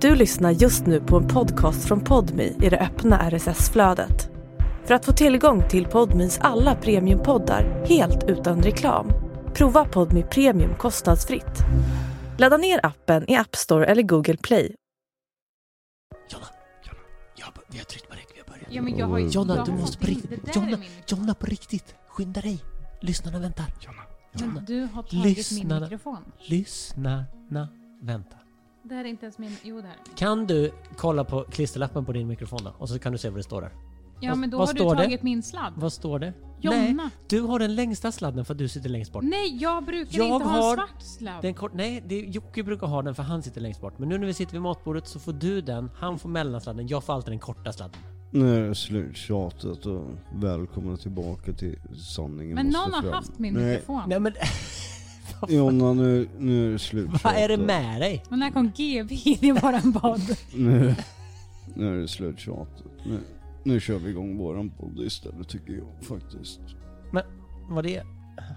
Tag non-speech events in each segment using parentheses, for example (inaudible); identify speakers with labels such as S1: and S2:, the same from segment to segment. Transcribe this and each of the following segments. S1: Du lyssnar just nu på en podcast från Podmi i det öppna RSS-flödet. För att få tillgång till Podmis alla premiumpoddar helt utan reklam, prova Podmi Premium kostnadsfritt. Ladda ner appen i App Store eller Google Play.
S2: Jonna, Jonna, jag har, bör- vi har tryckt på räck, vi har börjat.
S3: Mm. Ja, men jag har
S4: Mm.
S3: ju...
S2: Jonna,
S3: jag
S2: du
S3: har
S2: måste
S3: fått in-
S2: bli-
S3: det där
S2: Jonna,
S3: är min-
S2: Jonna, på riktigt, skynda dig. Lyssnarna väntar. Jonna,
S3: Men du har tagit
S2: Lyssna.
S3: min mikrofon.
S2: Lyssnarna väntar.
S3: Det här är inte ens min... Jo, det här är min.
S2: Kan du kolla på klisterlappen på din mikrofon då? Och så kan du se vad det står där.
S3: Ja,
S2: Vad-
S3: men då
S2: vad
S3: har du
S2: står det?
S3: tagit min sladd.
S2: Vad står det?
S3: Jonna.
S2: Nej, du har den längsta sladden för att du sitter längst bort.
S3: Nej, jag brukar
S2: Jag
S3: inte ha
S2: har-
S3: en svart sladd.
S2: Den kort, nej, det, Jocke brukar ha den för han sitter längst bort. Men nu när vi sitter vid matbordet så får du den, han får mellansladden, jag får alltid den korta sladden.
S4: Nu är det slut tjatet och välkomna tillbaka till sanningen
S3: Men
S4: måste
S3: någon har
S4: fram.
S3: haft min
S4: Nej,
S3: mikrofon.
S2: Nej men (laughs)
S4: Jonna nu, nu är det slut
S2: vad är det med dig?
S3: Men när kom GV in i våran
S2: (laughs)
S3: podd?
S4: Nu, nu är det slut tjatet. Nu, nu kör vi igång våran podd istället tycker jag faktiskt.
S2: Men var det,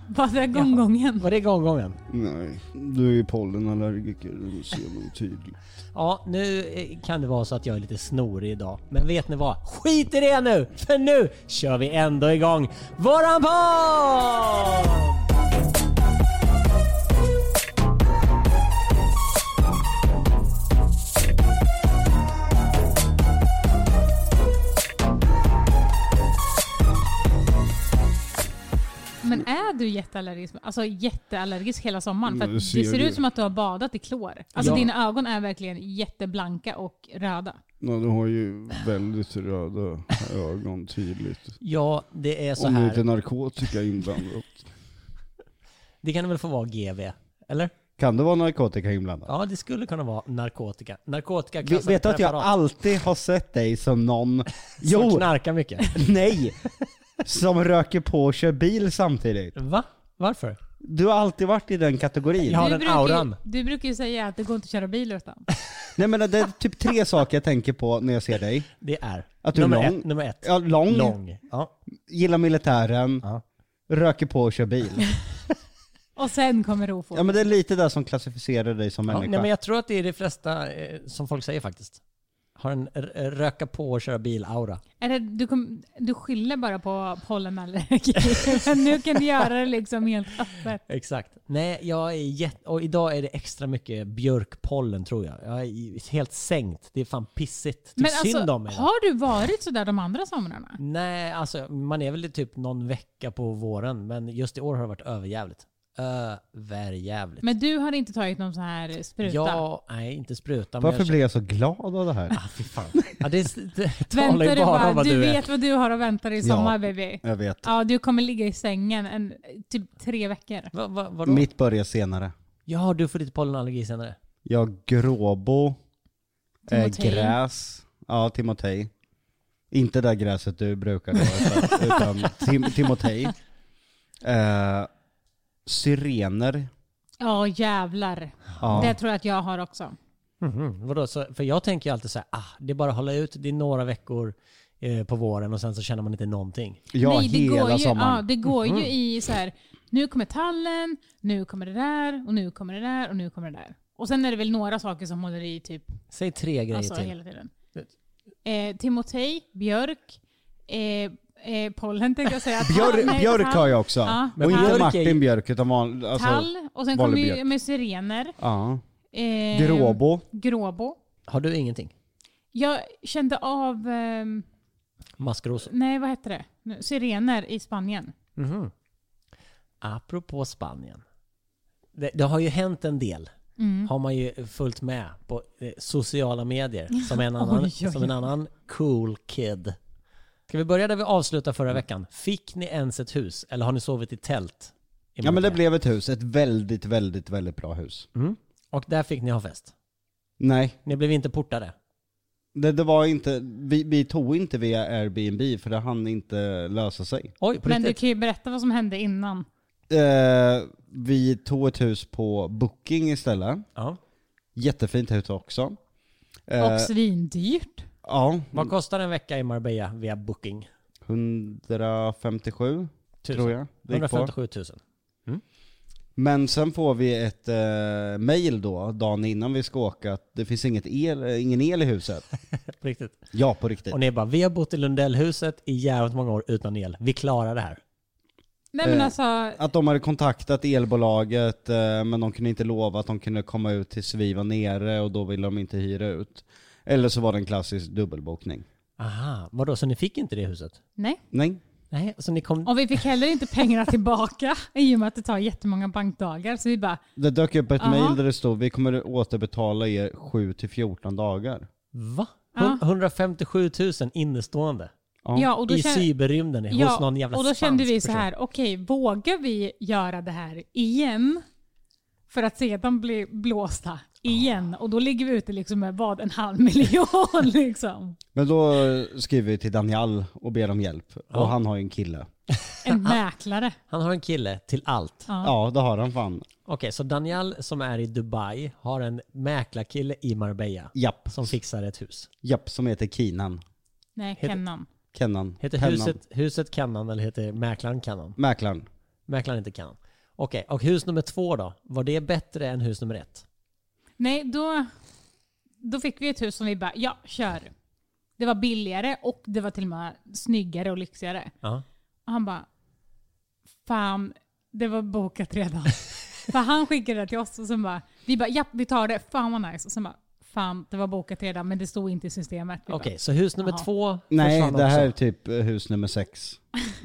S3: Var det gånggången?
S2: var det gånggången?
S4: Nej, du är ju pollenallergiker, det ser man tydligt.
S2: Ja, nu eh, kan det vara så att jag är lite snorig idag. Men vet ni vad? Skit i det nu! För nu kör vi ändå igång våran podd!
S3: Men är du jätteallergisk? Alltså jätteallergisk hela sommaren? För att
S4: Nu
S3: det
S4: Mm, ser
S3: ser
S4: du.
S3: ut som att du har badat i klor. Alltså
S2: Ja.
S3: dina ögon är verkligen jätteblanka och röda.
S4: Nej, du har ju väldigt röda ögon tydligt.
S2: Ja, det är så
S4: Om det inte är
S2: här.
S4: narkotika inblandat.
S2: Det kan väl få vara GV? Eller?
S5: Kan det vara narkotika inblandat?
S2: Ja, det skulle kunna vara narkotika. Narkotika
S5: Vet- Vet du att jag
S2: preparat
S5: alltid har sett dig som någon...
S2: som
S5: Jo!
S2: knarkar mycket.
S5: Nej! Som röker på och kör bil samtidigt.
S2: Va? Varför?
S5: Du har alltid varit i den kategorin.
S2: Ja. har
S3: du,
S2: den
S3: brukar,
S2: auran.
S3: ju- du brukar ju säga att det går inte att köra bil utan.
S5: Nej men det är typ tre saker jag tänker på när jag ser dig.
S2: Det är.
S5: Att du är
S2: nummer
S5: lång.
S2: ett. Nummer ett.
S5: Ja, lång,
S2: Lång. Ja.
S5: gillar militären,
S2: Ja.
S5: röker på och kör bil.
S3: Och sen kommer rofot.
S5: Ja men det är lite där som klassificerar dig som
S2: Ja,
S5: människa.
S2: nej, men jag tror att det är det flesta eh, som folk säger faktiskt. Har en r- röka på och köra bil-aura.
S3: Är det, du, kom, du skyller bara på (laughs) pollenallergi. Men nu kan du göra det liksom helt öppet.
S2: Exakt. Nej, jag är jätte... Och idag är det extra mycket björkpollen tror jag. Jag är i- helt sänkt. Det är fan pissigt. Det är
S3: Men
S2: Typ synd
S3: alltså,
S2: om mig.
S3: har du varit sådär de andra somrarna?
S2: Nej, alltså man är väl typ någon vecka på våren. Men just i år har det varit överjävligt. Överjävligt.
S3: Men du har inte tagit någon sån här spruta?
S2: Ja, nej inte spruta. men
S5: Varför
S2: jag
S5: blir jag så glad av det här?
S2: Ah, (laughs) fy fan. Ja, det, är- det (laughs) talar
S3: Väntar
S2: ju
S3: du
S2: bara om
S3: bara,
S2: vad
S3: du,
S2: du är.
S3: vet vad du har att vänta dig i
S5: Ja.
S3: sommar baby.
S5: Jag vet.
S3: Ja, du kommer ligga i sängen en, typ tre veckor.
S2: Va, va, vadå?
S5: Mitt börjar senare.
S2: Ja, du får lite pollenallergi senare.
S5: Jag har gråbo, eh,
S3: Timotej.
S5: gräs, ja Timotej. Inte det där gräset du brukar ha,
S3: (laughs)
S5: utan, utan tim, Timotej. Eh, syrener.
S3: Ja, jävlar.
S5: Ja.
S3: Det tror jag att jag har också.
S2: Mhm, Vadå? Så, för jag tänker ju alltid så här, ah, det är bara att hålla ut, det är några veckor eh, på våren och sen så känner man inte någonting.
S5: Ja,
S3: Nej, det
S5: hela
S3: går ju,
S5: sommaren. Mm.
S3: Ja, det går ju i så här, nu kommer tallen, nu kommer det där, och nu kommer det där, och nu kommer det där. Och sen är det väl några saker som håller i typ,
S2: Säg tre grejer
S3: alltså
S2: till.
S3: hela tiden. Eh, Timotej, Björk, eh, eh, pollen tänkte jag säga. Tall-
S5: (laughs) Björk,
S3: nej,
S5: Björk
S3: tall-
S5: har jag också.
S3: Ja,
S2: Men
S5: och
S3: tall,
S2: Björk är
S5: inte
S2: ju-
S5: Martin Björk utan vanlig, alltså,
S3: tall, och sen kommer ju
S5: Valbjörk.
S3: med syrener.
S5: ja.
S3: Eh,
S5: Gråbo.
S3: Gråbo.
S2: Har du ingenting?
S3: Jag kände av, ehm,
S2: Maskrosor?
S3: nej vad hette det? Nu, Syrener i Spanien.
S2: Mhm. Apropå Spanien. Det, det har ju hänt en del.
S3: Mm.
S2: Har man ju följt med på eh, sociala
S3: (laughs)
S2: medier. Som en annan,
S3: Oj, oj,
S2: som en annan cool kid. Ska vi börja där vi avslutade
S5: Mm.
S2: förra veckan? Fick ni ens ett hus? Eller har ni sovit i tält? i
S5: ja men det
S2: Marbella?
S5: blev ett hus, ett väldigt, väldigt, väldigt bra hus.
S2: Och där fick ni ha fest?
S5: Nej,
S2: Ni blev inte portade?
S5: det, det var inte, vi, vi tog inte via Airbnb för det hann inte lösa sig.
S2: Oj, på
S3: Men du
S2: riktigt?
S3: kan ju berätta vad som hände innan.
S5: Eh, vi tog ett hus på Booking istället.
S2: Ja.
S5: Jättefint hus också. Eh,
S3: Och svindyrt.
S5: ja,
S2: Vad kostar en vecka i Marbella via Booking?
S5: 157
S2: Tusen.
S5: tror jag. det gick på.
S2: 157 000.
S5: Men sen får vi ett eh, mail då, dagen innan vi ska åka, att det finns inget el, eh, ingen el
S2: (laughs)
S5: i huset.
S2: På riktigt.
S5: Ja, på
S3: Typ.
S5: riktigt.
S2: Och ni bara, vi har bott i Lundellhuset i jävligt många år utan el. Vi klarar det här.
S3: Nej men
S5: Eh,
S3: alltså,
S5: Att de hade kontaktat elbolaget eh, men de kunde inte lova att de kunde komma ut tills vi var nere och då ville de inte hyra ut. Eller så var det en klassisk dubbelbokning.
S2: Aha, vadå, så ni fick inte det huset?
S3: nej.
S5: Nej.
S2: Nej, så ni kom...
S3: Och vi fick heller inte (laughs) pengarna tillbaka i och med att det tar jättemånga bankdagar. Så vi bara,
S5: Det dök upp ett
S3: Aha.
S5: mail där det stod vi kommer återbetala er 7-14 dagar.
S2: Va?
S3: Ja.
S2: 157 000 innestående
S5: Ja.
S3: ja och då
S2: i
S3: kän-
S2: cyberrymden hos någon jävla
S3: och då kände vi
S2: spansk
S3: så
S2: person.
S3: här, okej, vågar vi göra det här igen? För att sedan bli blåsta igen. Och då ligger vi ute liksom med vad, en halv miljon (laughs) liksom.
S5: Men då eh, skriver vi till Daniel och ber om hjälp.
S2: Ja.
S5: Och han har ju en kille.
S3: En mäklare.
S2: Han har en kille till allt.
S3: Ja.
S5: Ja, det har han fan.
S2: Okej, så Daniel som är i Dubai har en mäklarkille i Marbella
S5: Japp,
S2: som fixar ett hus.
S5: japp som heter Kinan.
S3: Nej,
S2: Heter-
S3: Kennan.
S5: Kennan.
S2: Heter
S5: Kennan.
S2: huset, huset Kannan eller heter mäklaren Kannan?
S5: Mäklaren.
S2: Mäklaren heter Kannan. Okej, och hus nummer två då? Var det bättre än hus nummer ett?
S3: Nej, då, då fick vi ett hus som vi bara, ja, kör. Det var billigare och det var till och med snyggare och lyxigare.
S2: Ja.
S3: Och han bara, fan, det var bokat redan. För han skickade det till oss och sen bara, vi bara, japp vi tar det, fan vad nice. Och sen bara, fan det var bokat redan men det stod inte i systemet. Vi bara,
S2: Okej, så hus nummer
S3: Jaha.
S2: två
S5: Nej,
S2: försvann
S5: det här är
S2: också.
S5: typ eh, hus nummer sex.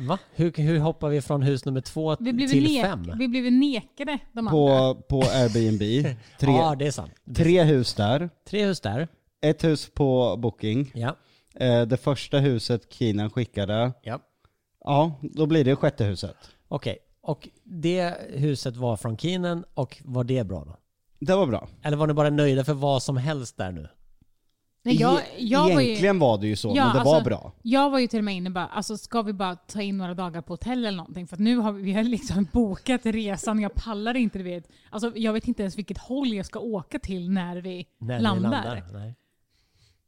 S2: Va? Hur, hur hoppar vi från hus nummer två
S3: Vi blev,
S2: till
S3: nek-
S2: fem?
S3: vi blev nekade de andra.
S5: På, på
S2: (laughs)
S5: Airbnb. Tre,
S2: Ja, det är sant.
S5: tre hus där.
S2: Tre hus där.
S5: Ett hus på Booking.
S2: Ja.
S5: Eh, det första huset Kinan skickade.
S2: ja.
S5: Ja, då blir det sjätte huset.
S2: Okej, och det huset var från Kinen och var det bra då?
S5: Det var bra.
S2: Eller var ni bara nöjda för vad som helst där nu?
S3: Nej, jag, jag var ju,
S5: e- Egentligen var, det ju så,
S3: Ja,
S5: men det var
S3: alltså-
S5: bra.
S3: jag var ju till och med inne bara, alltså ska vi bara ta in några dagar på hotell eller någonting? För att nu har vi, vi har liksom (laughs) bokat resan, jag pallar inte du vet. Alltså jag vet inte ens vilket håll jag ska åka till när vi
S2: När ni
S3: landar.
S2: Nej.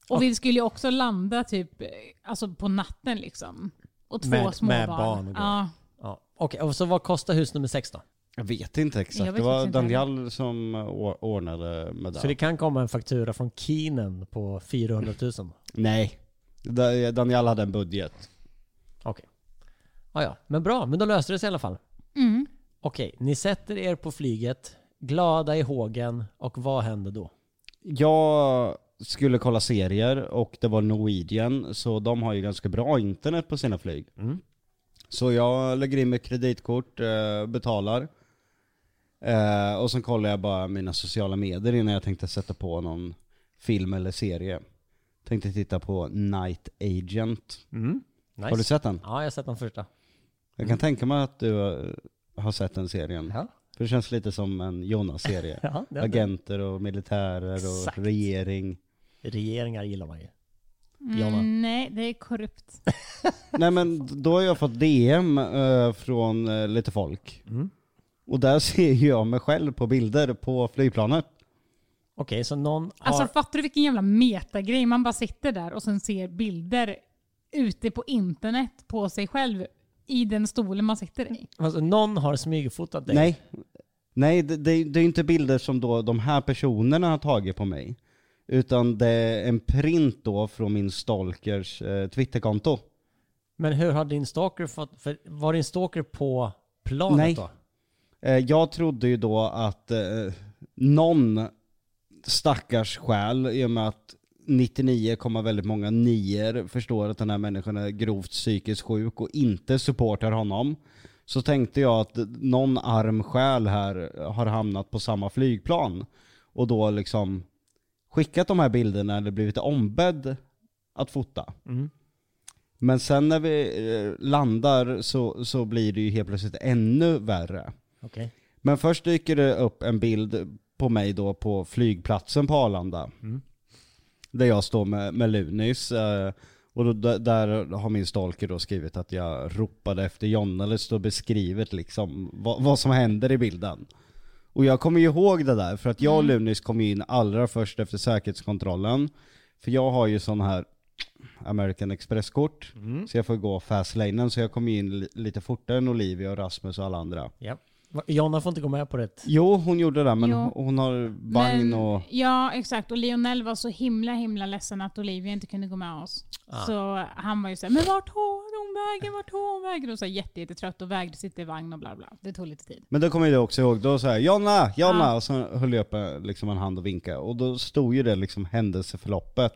S3: Och vi skulle ju också landa typ eh, alltså på natten liksom. Och två
S2: Med-
S3: små
S2: med
S3: barn.
S2: barn och grejer.
S3: ja.
S2: Ja. Okej, och så vad kostar hus nummer sex då?
S5: Jag vet inte exakt.
S3: Jag vet
S5: det var
S3: faktiskt inte
S5: Daniel som eh, å- ordnade med det.
S2: Så det kan komma en faktura från Kinen på 400 000? Okej.
S5: Nej. Da- eh, Daniel hade en budget.
S2: Ja, ja. Men bra, men då löste det sig i alla fall.
S3: Mm.
S2: Okej, ni sätter er på flyget, glada i hågen och vad händer då?
S5: Jag skulle kolla serier och det var Norwegian, så de har ju ganska bra internet på sina flyg.
S2: Mm.
S5: Så jag lägger in mitt kreditkort, eh, betalar. Eh, och sen kollar jag bara mina sociala medier innan jag tänkte sätta på någon film eller serie. Tänkte titta på Night Agent.
S2: Mm. Nice.
S5: Har du sett den?
S2: Ja, jag har sett den första.
S5: Jag kan tänka mig att du eh, har sett den serien.
S2: Ja.
S5: För det känns lite som en Jonas-serie.
S2: (laughs) Ja, det-
S5: Agenter och militärer och
S2: Exakt.
S5: regering.
S2: Regeringar gillar man ju. Jonna.
S3: Mm, nej, det
S2: (laughs)
S3: är korrupt.
S5: Nej men då har jag fått DM eh, från eh, lite folk.
S2: Mm.
S5: Och där ser ju jag mig själv på bilder på flygplanet.
S2: Okej, så någon har...
S3: Alltså fattar du vilken jävla metagrej? Man bara sitter där och sen ser bilder ute på internet på sig själv i den stolen man sitter i.
S2: Alltså, någon har smygfotat dig?
S5: Nej. Nej, det, det, det är ju inte bilder som då de här personerna har tagit på mig. Utan det är en print då från min stalkers eh, Twitterkonto.
S2: Men hur har din stalker fått... För var din stalker på planet
S5: Nej.
S2: då?
S5: Eh, jag trodde ju då att eh, någon stackars själ, i och med att 99, komma väldigt många nior förstår att den här människan är grovt psykiskt sjuk och inte supportar honom. Så tänkte jag att någon arm själ här har hamnat på samma flygplan och då liksom skickat de här bilderna eller blivit ombedd att fota.
S2: Mm.
S5: Men sen när vi eh, landar så, så blir det ju helt plötsligt ännu värre.
S2: Okej.
S5: Men först dyker det upp en bild på mig då på flygplatsen på Arlanda.
S2: Mm.
S5: Där jag står med, med Lunis. eh, Och då, där- där har min stalker då skrivit att jag ropade efter John, eller står beskrivet liksom vad, vad som händer i bilden. Och jag kommer ju ihåg det där, för att jag och Lunis kom ju in allra först efter säkerhetskontrollen. För jag har ju sån här American Express-kort, så jag får gå fastlanen, så jag kom ju in li- lite fortare än Olivia och Rasmus och alla andra.
S2: Ja. Va- Jonna får inte gå med på det.
S5: Jo, hon gjorde det, men
S3: Jo.
S5: hon har vagn
S3: Men-
S5: och...
S3: Ja, exakt. Och Lionel var så himla himla ledsen att Olivia inte kunde gå med oss. Så han var ju såhär, men vart har hon vägen? Vart har hon vägen? Och så här, jätte, jättetrött och vägde sitta i vagn och bla bla. Det tog lite tid.
S5: Men då kommer jag också ihåg, då sa jag Jonna, Jonna!
S3: Ja.
S5: Och så höll jag upp eh, liksom en hand och vinkade. Och då stod ju det liksom händelseförloppet.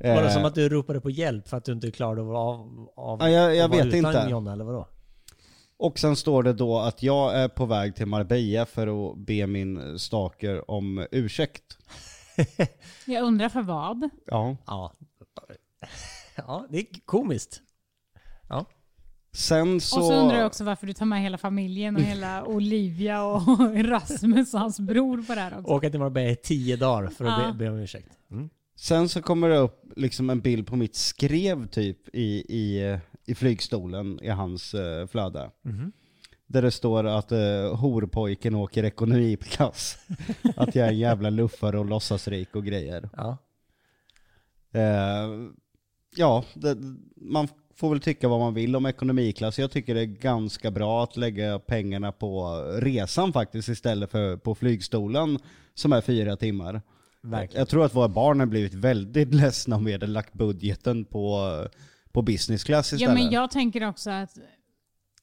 S2: Var det
S5: Eh,
S2: som att du ropade på hjälp för att du inte klarade att vara av, av
S5: Ja, jag- jag
S2: att vara
S5: vet
S2: utan
S5: inte.
S2: Jonna eller vadå?
S5: Och sen står det då att jag är på väg till Marbella för att be min staker om ursäkt.
S3: Jag undrar för vad?
S5: Ja.
S2: Ja. (laughs) Ja, det är komiskt. Ja.
S5: Sen så...
S3: Och så undrar jag också varför du tar med hela familjen och
S5: (laughs)
S3: hela Olivia och (laughs) Rasmus och hans bror på det här också.
S2: Åka till Marbella i tio dagar för att
S3: Ja.
S2: be, be om ursäkt. Mm.
S5: Sen så kommer det upp liksom en bild på mitt skrev typ i, i, i flygstolen i hans eh, flöde. Där det står att eh, horpojken åker ekonomiklass. att jag är en jävla luffare och låtsasrik och grejer.
S2: Ja.
S5: Eh, ja, det, man får väl tycka vad man vill om ekonomiklass. Jag tycker det är ganska bra att lägga pengarna på resan faktiskt istället för på flygstolen som är fyra timmar.
S2: Verkligen.
S5: Jag tror att våra barn har blivit väldigt (laughs) ledsna om vi hade lagt budgeten på, på business class
S3: Ja,
S5: istället.
S3: men jag tänker också att...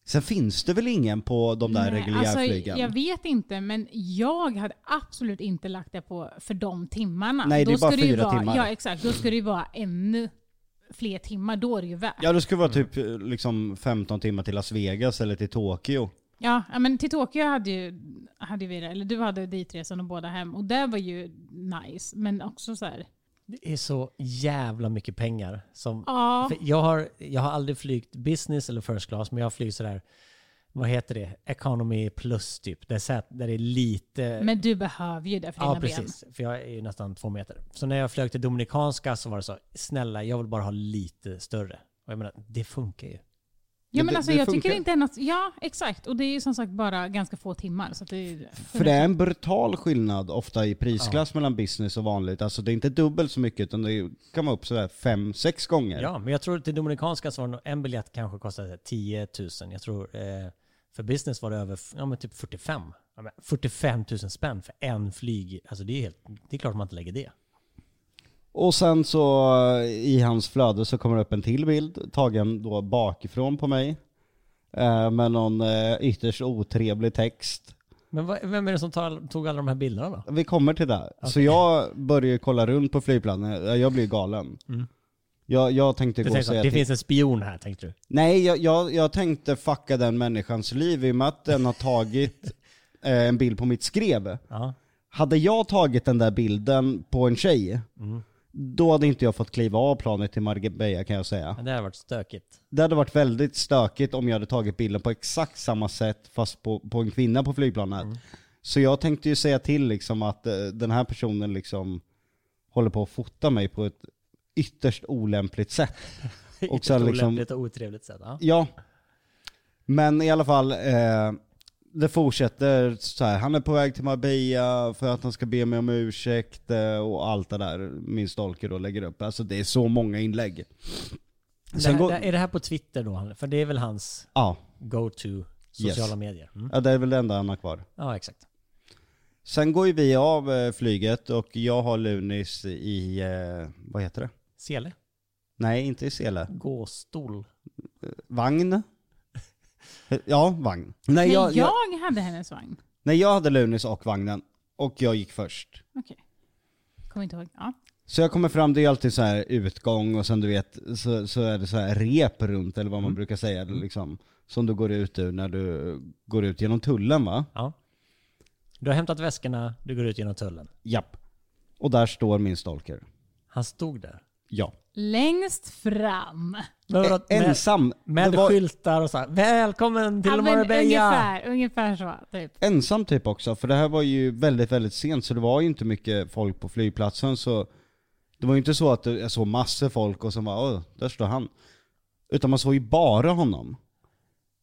S5: Sen finns det väl ingen på de där
S3: Nej,
S5: reguljärflygen?
S3: alltså, jag vet inte, men jag hade absolut inte lagt det på för de timmarna.
S5: Nej, det är bara
S3: ska ju
S5: fyra
S3: vara,
S5: timmar.
S3: Ja, exakt. Då ska det ju vara ännu fler timmar. Då är det ju värt.
S5: Ja, det skulle vara typ eh, liksom 15 timmar till Las Vegas eller till Tokyo.
S3: Ja, ja, men till Tokyo hade ju hade vi det, eller du hade ditresan och båda hem. Och det var ju nice, men också så här.
S2: Det är så jävla mycket pengar som...
S3: Ja,
S2: För jag, har, jag har aldrig flygt business eller first class, men jag har flygit sådär... Vad heter det? Economy plus typ. Där, sät, där det är lite...
S3: men du behöver ju det för dina
S2: ja, precis. För jag är ju nästan två meter. Så när jag flög till Dominikanska så var det så, snälla jag vill bara ha lite större. Och jag menar, det funkar ju.
S3: ben. Ja, men
S5: Det-
S3: alltså,
S5: det
S3: jag tycker
S5: funkar.
S3: inte annars. Ja, exakt. Och det är ju som sagt bara ganska få timmar. Så att det är ju-
S5: För det är en brutal skillnad ofta i prisklass mellan business och vanligt. Alltså det är inte dubbelt så mycket utan det kan vara upp sådär fem, sex gånger.
S2: Ja, men jag tror till Dominikanska så var det nog- en biljett kanske kostade 10 000. Jag tror eh, för business var det över f- ja, men typ 45. Ja, men 45 000 spänn för en flyg. Alltså det är, helt, det är klart man inte lägger det.
S5: Och sen så eh, i hans flöde så kommer det upp en till bild tagen då bakifrån på mig. Eh, Med någon eh, ytterst otrevlig text.
S2: Men vad, vem är det som tar, tog alla de här bilderna då?
S5: Vi kommer till det. Så jag börjar ju kolla runt på flygplanen, jag blir galen. Jag, jag tänkte
S2: Mm. Du
S5: gå
S2: tänkte,
S5: och
S2: så,
S5: säga
S2: det
S5: till-
S2: finns en spion här tänkte du.
S5: Nej, jag, jag, jag tänkte fucka den människans liv i och med att den har tagit eh, en bild på mitt skrev.
S2: Ja.
S5: Hade jag tagit den där bilden på en tjej, då hade inte jag fått kliva av planet till Marbella kan jag säga.
S2: Men det här har varit stökigt.
S5: Det hade varit väldigt stökigt om jag hade tagit bilden på exakt samma sätt fast på, på en kvinna på flygplanet. Så jag tänkte ju säga till liksom att eh, den här personen liksom håller på att fota mig på ett ytterst olämpligt sätt.
S2: (laughs)
S5: Och
S2: Ytterst
S5: sen liksom-
S2: olämpligt och otrevligt sätt. Ja.
S5: Ja. Men i alla fall, eh, det fortsätter så här. Han är på väg till Marbella för att han ska be mig om ursäkt eh, och allt det där min stalker då lägger upp. Alltså det är så många inlägg.
S2: Det
S5: Sen
S2: här,
S5: går-
S2: det här- Är det här på Twitter då? För det är väl hans
S5: Ja,
S2: go-to sociala medier? Mm.
S5: ja, det är väl det enda han har kvar.
S2: Ja, exakt.
S5: Sen går ju vi av eh, flyget och jag har Lunis i, eh, vad heter det?
S2: Sele?
S5: Nej, inte i sele.
S2: Gåstol? (laughs)
S5: Vagn? Ja, vagn. Nej
S3: Men
S5: jag,
S3: jag,
S5: jag,
S3: hade hennes vagn.
S5: nej, jag hade Lunis och vagnen. Och jag gick först.
S3: Okej. Kommer inte ihåg. Ja.
S5: Så jag kommer fram, det är alltid så här utgång och sen du vet så, så är det så här rep runt eller vad man brukar säga liksom. Som du går ut ur när du går ut genom tullen va?
S2: Ja. Du har hämtat väskorna, du går ut genom tullen.
S5: Japp. Och där står min stalker.
S2: Han stod där.
S5: Ja.
S3: Längst fram.
S2: Men vadå, med
S5: Ensam.
S2: med
S5: det var
S2: skyltar och så här. Välkommen till
S3: Ja, men
S2: Marbella!
S3: ungefär, ungefär så. Typ.
S5: ensam typ också, för det här var ju väldigt, väldigt sent så det var ju inte mycket folk på flygplatsen så det var ju inte så att det- jag såg massor folk och så bara åh, där står han. Utan man såg ju bara honom.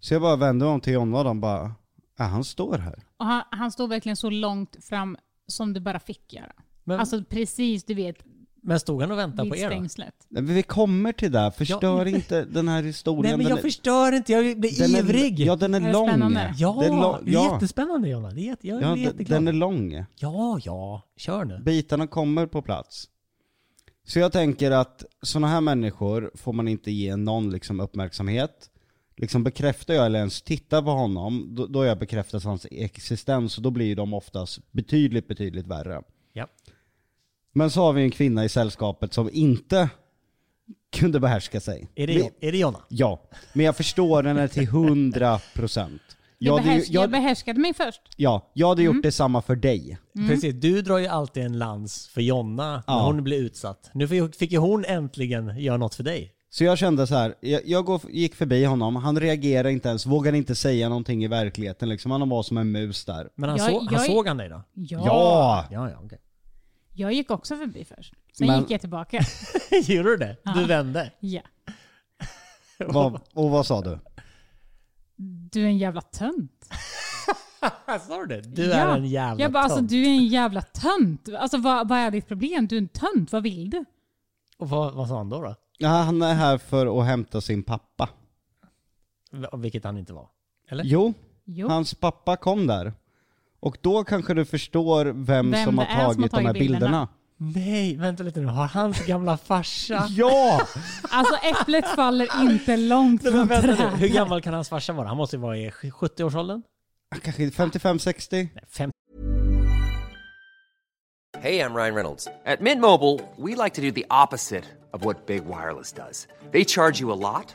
S5: Så jag bara vände mig om till Jonna och de bara, ja han står här.
S3: Och han, han stod verkligen så långt fram som du bara fick göra.
S2: Men,
S3: Alltså precis, du vet,
S2: Men stod han och väntade på er då?
S3: Viltstängslet.
S5: Nej, men Vi kommer till det,
S2: (laughs)
S5: här. förstör inte den här historien.
S2: Nej men jag
S5: den är,
S2: förstör inte, jag blir
S5: den
S2: ivrig!
S5: Är, ja, den är,
S3: Är det
S5: lång.
S3: spännande?
S2: Ja,
S5: den är lång-
S2: det är
S5: ja.
S2: jättespännande Jonna. Det är jätte, jag
S5: Ja,
S2: blir
S5: den,
S2: jätteglad.
S5: den är lång.
S2: Ja, ja, kör nu.
S5: Bitarna kommer på plats. Så jag tänker att sådana här människor får man inte ge någon liksom uppmärksamhet. Liksom bekräftar jag eller ens tittar på honom, då, då har jag bekräftat hans existens och då blir ju de oftast betydligt, betydligt värre.
S2: Ja.
S5: Men så har vi en kvinna i sällskapet som inte kunde behärska sig.
S2: Är,
S5: Vi-
S2: det, är det Jonna?
S5: Ja, men jag förstår henne till 100 procent.
S3: Jag,
S5: Jag, hade ju-
S3: behärs- jag
S5: jag,
S3: behärskade mig först.
S5: ja, jag hade gjort
S3: Mm.
S5: detsamma för dig.
S2: Precis, du drar ju alltid en lans för Jonna när
S5: Ja.
S2: hon blir utsatt. Nu fick- fick ju hon äntligen göra något för dig.
S5: Så jag kände så här, jag, jag går, gick förbi honom, han reagerade inte ens, vågade inte säga någonting i verkligheten liksom. Han var som en mus där.
S2: Men han,
S3: Jag-
S2: såg- han
S3: jag är-
S2: såg han dig då?
S3: Ja.
S5: Ja!
S2: Ja, ja, okej. (laughs)
S3: Jag gick också förbi först. Sen
S5: Men-
S3: gick jag tillbaka. (laughs)
S2: Gjorde du det? Du vände?
S3: Ja.
S5: Vad- och vad sa du?
S3: Du är en jävla tönt.
S2: Sa du det? Du
S3: ja.
S2: är en jävla
S3: jag bara, alltså,
S2: tönt.
S3: Du är en jävla tönt. Alltså, vad, vad är ditt problem? Du är en tönt. Vad vill du?
S2: Och vad, vad sa han då? då?
S5: Ja, han är här för att hämta sin pappa.
S2: V- Vilket han inte var. Eller?
S5: Jo,
S3: Jo.
S5: hans pappa kom där. Och då kanske du förstår vem,
S3: Vem
S5: som, har
S3: det är som har
S5: tagit de
S3: tagit
S5: här
S3: bilderna.
S5: bilderna.
S2: Nej, vänta lite nu. Har hans gamla (laughs) farsa...
S5: Ja!
S3: Alltså äpplet faller inte långt
S2: (laughs) Nej, men
S3: från
S2: vänta nu.
S3: trädet.
S2: Hur gammal kan hans farsa vara? Han måste ju vara i 70-årsåldern?
S5: Kanske 55-60?
S2: Nej, 50.
S6: Hey, I'm Ryan Reynolds. At Mint Mobile, we like to do the opposite of what Big Wireless does. They charge you a lot,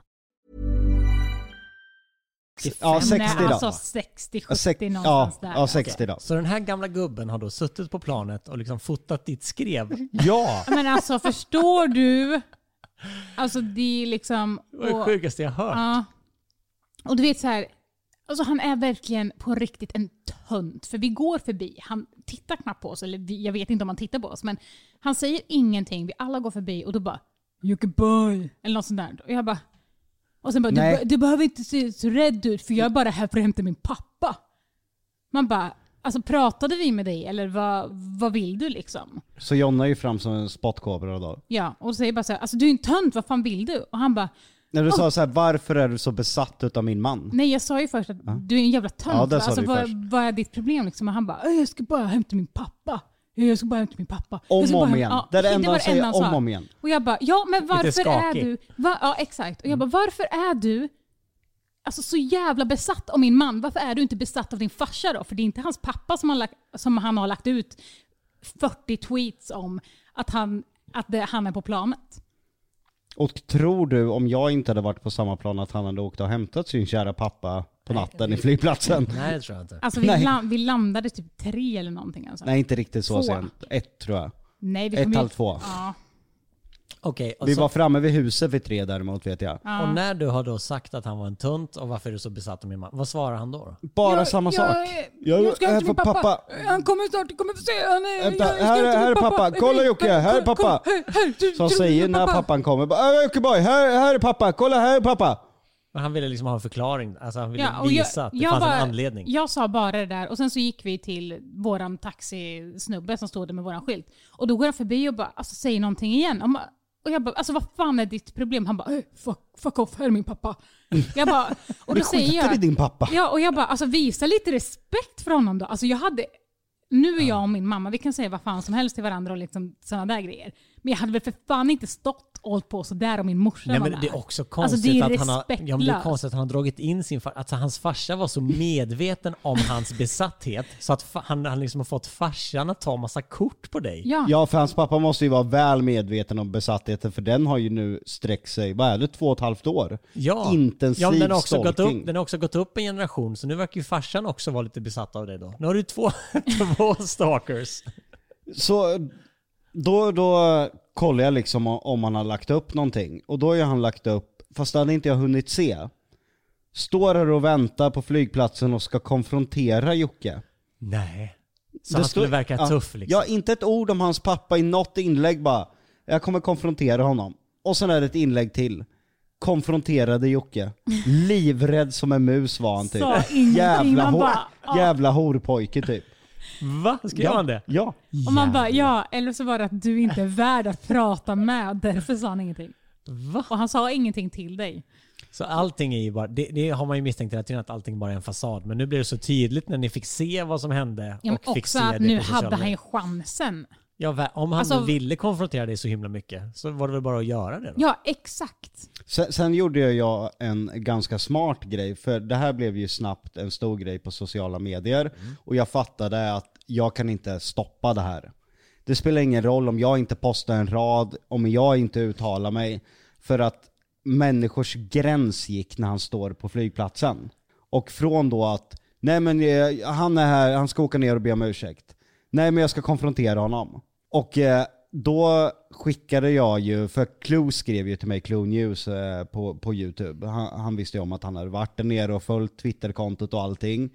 S5: Ja,
S3: Men
S5: 60 då.
S3: Alltså 60, 70
S5: Sex- ja,
S3: någonstans där.
S5: ja, 60 då.
S2: Så den här gamla gubben har då suttit på planet och liksom fotat ditt
S3: (laughs)
S2: skrev?
S5: Ja!
S3: Men alltså förstår du? Alltså det är liksom...
S2: Det var det
S3: och-
S2: sjukaste jag hört.
S3: Ja. Och du vet så här, alltså han är verkligen på riktigt en tönt. För vi går förbi, han tittar knappt på oss, eller vi, jag vet inte om han tittar på oss, men han säger ingenting. Vi alla går förbi och då bara “Jockiboi” eller något sånt där. Och jag bara... Och sen bara du,
S5: Nej.
S3: be- “Du behöver inte se så rädd ut för jag är bara här för att hämta min pappa”. Man bara, alltså pratade vi med dig eller vad, vad vill du liksom?
S5: Så Jonna är ju fram som en spottkobra då.
S3: Ja, och säger bara så här, alltså du är en tönt, vad fan vill du? Och han bara,
S5: När du
S3: Oh.
S5: sa så här, varför är du så besatt utav min man?
S3: Nej jag sa ju först att du är en jävla tönt.
S5: Ja, det
S3: va?
S5: sa
S3: alltså,
S5: du
S3: vad,
S5: först.
S3: vad är ditt problem? Liksom? Och han bara, "Äh, jag ska bara hämta min pappa. Äh, Jag ska bara hämta min pappa.
S5: Om
S3: jag ska
S5: och
S3: bara hämta-"
S5: om igen. Det är det enda han
S3: var
S5: säger,
S3: han
S5: om
S3: sa.
S5: och om igen.
S3: Och jag bara, ja men varför är
S2: skakig.
S3: du... Va, ja exakt. Och jag bara,
S5: Mm.
S3: varför är du alltså, så jävla besatt av min man? Varför är du inte besatt av din farsa då? För det är inte hans pappa som, har lagt, som han har lagt ut 40 tweets om att han, att det, han är på planet.
S5: Och tror du, om jag inte hade varit på samma plan, att han hade åkt och hämtat sin kära pappa på natten i flygplatsen?
S2: Nej, det tror jag inte.
S3: Alltså vi,
S5: Nej.
S3: la, vi landade typ tre eller någonting. Alltså.
S5: Nej, inte riktigt så
S3: Två.
S5: sent. Ett tror jag.
S3: Nej, vi
S5: Ett,
S3: kom ju-
S5: halv två.
S3: Ja.
S2: Okej, och,
S5: Vi
S2: så-
S5: var framme vid huset vid tre däremot vet jag.
S2: och när du har då sagt att han var en tunt och varför är du så besatt av min man? Vad svarar han då? då?
S5: Bara
S3: Jag-
S5: samma
S3: jag-
S5: sak.
S3: Jag, ska hämta min pappa. Han kommer snart, du kommer få se. Han är,
S5: Vänta,
S3: jag ska
S5: här är-
S3: hämta min
S5: här är pappa. Kolla, Jocke, här är
S3: Kom, kom,
S5: pappa.
S3: här, här, du-
S5: Som
S3: du-
S5: säger
S3: du-
S5: när
S3: pappa.
S5: pappan kommer. bara, "Äh, Jockiboi, här, här är pappa, kolla här är pappa.
S2: Men han ville liksom ha en förklaring. Alltså han ville
S3: Ja, och jag-
S2: visa att det
S3: jag
S2: fanns
S3: bara-
S2: en anledning.
S3: Jag sa bara det där och sen så gick vi till våran taxisnubbe som stod där med våran skylt. Och då går han förbi och bara alltså, säger någonting igen. Och ma- Och jag bara, alltså vad fan är ditt problem? Han bara, "Eh, fuck, fuck off, här är min pappa. Jag bara, och då
S5: Vi
S3: säger jag...
S5: skiter i din pappa.
S3: Ja, och jag bara, alltså visa lite respekt för honom då. Alltså jag hade, nu är jag och min mamma, vi kan säga vad fan som helst till varandra och liksom sådana där grejer. Men jag hade väl för fan inte stått och hållit på sådär om min morsa
S2: Nej,
S3: var
S2: men
S3: med.
S2: det är också
S3: Alltså,
S2: konstigt,
S3: det är
S2: att han har, ja, men det är
S3: respektlöst.
S2: konstigt att han har dragit in sin farsa. Alltså, hans farsa var så medveten om
S3: (laughs)
S2: hans besatthet så att fa- han, han liksom har fått farsan att ta massa kort på dig.
S3: Ja.
S5: Ja, för hans pappa måste ju vara väl medveten om besattheten för den har ju nu sträckt sig, vad är det, två och ett halvt år?
S2: Ja.
S5: Intensiv
S2: ja, men den, har också gått
S5: stalking.
S2: upp, den har också gått upp en generation, så nu verkar ju farsan också vara lite besatt av dig då. Nu har du två, (laughs) två stalkers.
S5: Så då, då kollar jag liksom om han har lagt upp någonting. Och då har ju han lagt upp, fast det hade inte jag hunnit se. Står här och väntar på flygplatsen och ska konfrontera Jocke.
S2: Nej. Så
S5: Det
S2: han
S5: står-
S2: skulle verka
S5: ja,
S2: tuff liksom.
S5: Ja, inte ett ord om hans pappa i något inlägg bara. Jag kommer konfrontera honom. Och sen är det ett inlägg till. Konfronterade Jocke. Livrädd som en mus var han typ.
S3: Sa ingenting,
S5: Jävla,
S3: man
S5: hor,
S3: bara, ah.
S5: jävla horpojke typ.
S2: Va? Skrev
S5: ja,
S2: han det?
S5: Ja.
S3: Och man bara, ja, eller så var det att du inte är värd att prata med och därför sa han ingenting.
S2: Va?
S3: Och han sa ingenting till dig.
S2: Så allting är ju bara, det, det har man ju misstänkt hela tiden att allting bara är en fasad. Men nu blir det så tydligt när ni fick se vad som hände.
S3: Ja, men
S2: och fick
S3: också
S2: se
S3: att
S2: det
S3: nu
S2: på sociala
S3: hade han ju
S2: medier.
S3: chansen.
S2: ja, va- Om han
S3: Alltså-
S2: ville konfrontera dig så himla mycket så var det väl bara att göra det då?
S3: Ja, exakt.
S5: Sen, sen gjorde ju jag en ganska smart grej, för det här blev ju snabbt en stor grej på sociala medier.
S2: Mm.
S5: Och jag fattade att jag kan inte stoppa det här. Det spelar ingen roll om jag inte postar en rad, om jag inte uttalar mig. För att människors gräns gick när han står på flygplatsen. Och från då att, nej men eh, han är här, han ska åka ner och be om ursäkt. Nej men jag ska konfrontera honom. Och eh, då skickade jag ju, för Clue skrev ju till mig, Clue News eh, på, på YouTube. Han, han visste ju om att han hade varit där nere och följt Twitterkontot och allting.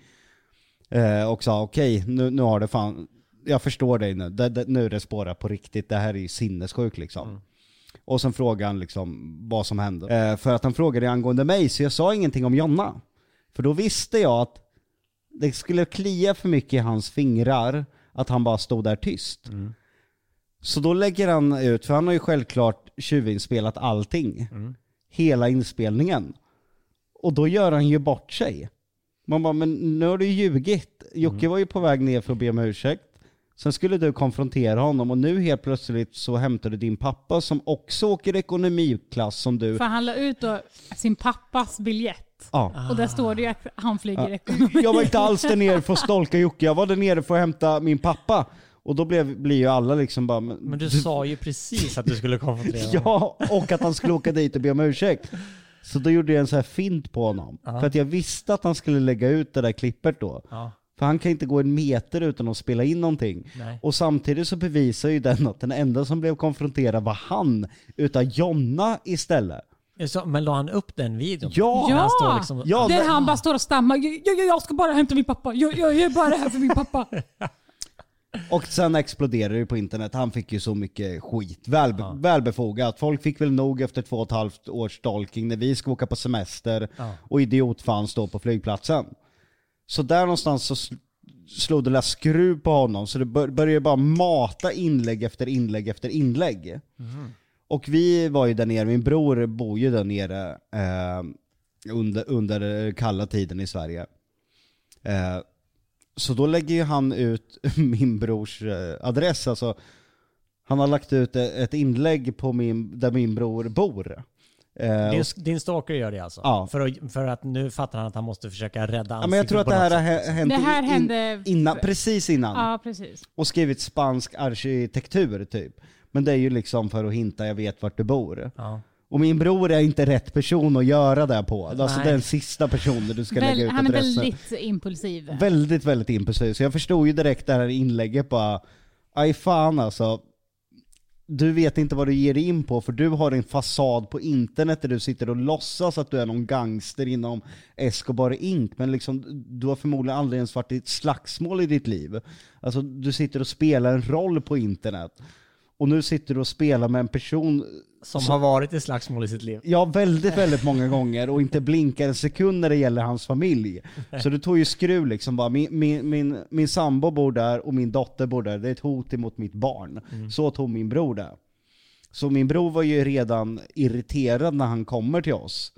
S5: Eh, och sa okej, nu, nu har det fan, jag förstår dig nu, det, det, nu är det spårat på riktigt, det här är ju sinnessjukt liksom. Och sen frågade han liksom vad som hände. Eh, för att han frågade angående mig, så jag sa ingenting om Jonna. För då visste jag att det skulle klia för mycket i hans fingrar att han bara stod där tyst. Så då lägger han ut, för han har ju självklart tjuvinspelat allting. Hela inspelningen. Och då gör han ju bort sig. Man bara, men nu har du ju ljugit. Jocke var ju på väg ner för att be om ursäkt. Sen skulle du konfrontera honom och nu helt plötsligt så hämtar du din pappa som också åker ekonomiklass som du.
S3: För han la ut då sin pappas biljett.
S5: Ja.
S3: Och
S2: Ah.
S3: där står det ju att han flyger ekonomi.
S5: Jag var inte alls där nere för att stalka Jocke, jag var där nere för att hämta min pappa. Och då blev, blir ju alla liksom bara... Men,
S2: Men du, sa ju precis att du skulle konfrontera
S5: (laughs)
S2: honom.
S5: Ja, och att han skulle åka dit och be om ursäkt. Så då gjorde jag en sån här fint på honom. För att jag visste att han skulle lägga ut det där klippet då.
S2: Ja.
S5: För han kan inte gå en meter utan att spela in någonting.
S2: Nej.
S5: Och samtidigt så bevisar ju den att den enda som blev konfronterad var han, utan Jonna istället.
S2: Så, men la han upp den videon?
S5: Ja!
S2: När han står
S3: Ja!
S2: liksom,
S5: Ja,
S3: Där
S5: men-
S3: han bara står och stammar. Jag, jag, jag ska bara hämta min pappa. Jag, jag, jag är bara här för min
S2: (laughs)
S3: pappa.
S5: Och sen exploderade det ju på internet. Han fick ju så mycket skit. Väl, Välbefogat. Folk fick väl nog efter två och ett halvt års stalking när vi ska åka på semester och idiotfan står på flygplatsen. Så där någonstans så sl- slog det där skruv på honom så det bör, började bara mata inlägg efter inlägg efter inlägg. Och vi var ju där nere, min bror bor ju där nere eh, under, under kalla tiden i Sverige. Eh, så då lägger ju han ut (laughs) min brors eh, adress, alltså han har lagt ut eh, ett inlägg på min, där min bror bor. Eh,
S2: Din, din stalker gör det alltså?
S5: Ja.
S2: För, att, för att nu fattar han att han måste försöka rädda ansiktet
S5: ja, men jag tror att
S2: på
S5: det här
S2: något
S5: har
S2: sätt.
S5: hä- hänt
S3: Det här
S5: in-
S3: hände-
S5: innan, precis innan.
S3: Ja, precis.
S5: Och skrivit spansk arkitektur typ. Men det är ju liksom för att hinta, jag vet vart du bor.
S2: Ja.
S5: Och min bror är inte rätt person att göra det på. Alltså
S2: Nej.
S5: den sista personen du ska lägga
S3: Väl,
S5: ut
S3: han är
S5: adressen.
S3: väldigt
S2: (laughs)
S3: impulsiv.
S5: Väldigt, väldigt impulsiv. Så jag förstod ju direkt det här inlägget bara, aj fan alltså. Du vet inte vad du ger dig in på för du har en fasad på internet där du sitter och låtsas att du är någon gangster inom Escobar Inc. Men liksom, du har förmodligen aldrig ens varit i ett slagsmål i ditt liv. Alltså du sitter och spelar en roll på internet. Och nu sitter du och spelar med en person
S2: Som har varit i slagsmål i sitt liv.
S5: Ja, väldigt, väldigt många gånger och inte blinkar en sekund när det gäller hans familj. Så det tog ju skruv liksom bara, min, min, min, min sambo bor där och min dotter bor där, det är ett hot emot mitt barn. Så tog min bror det. Så min bror var ju redan irriterad när han kommer till oss.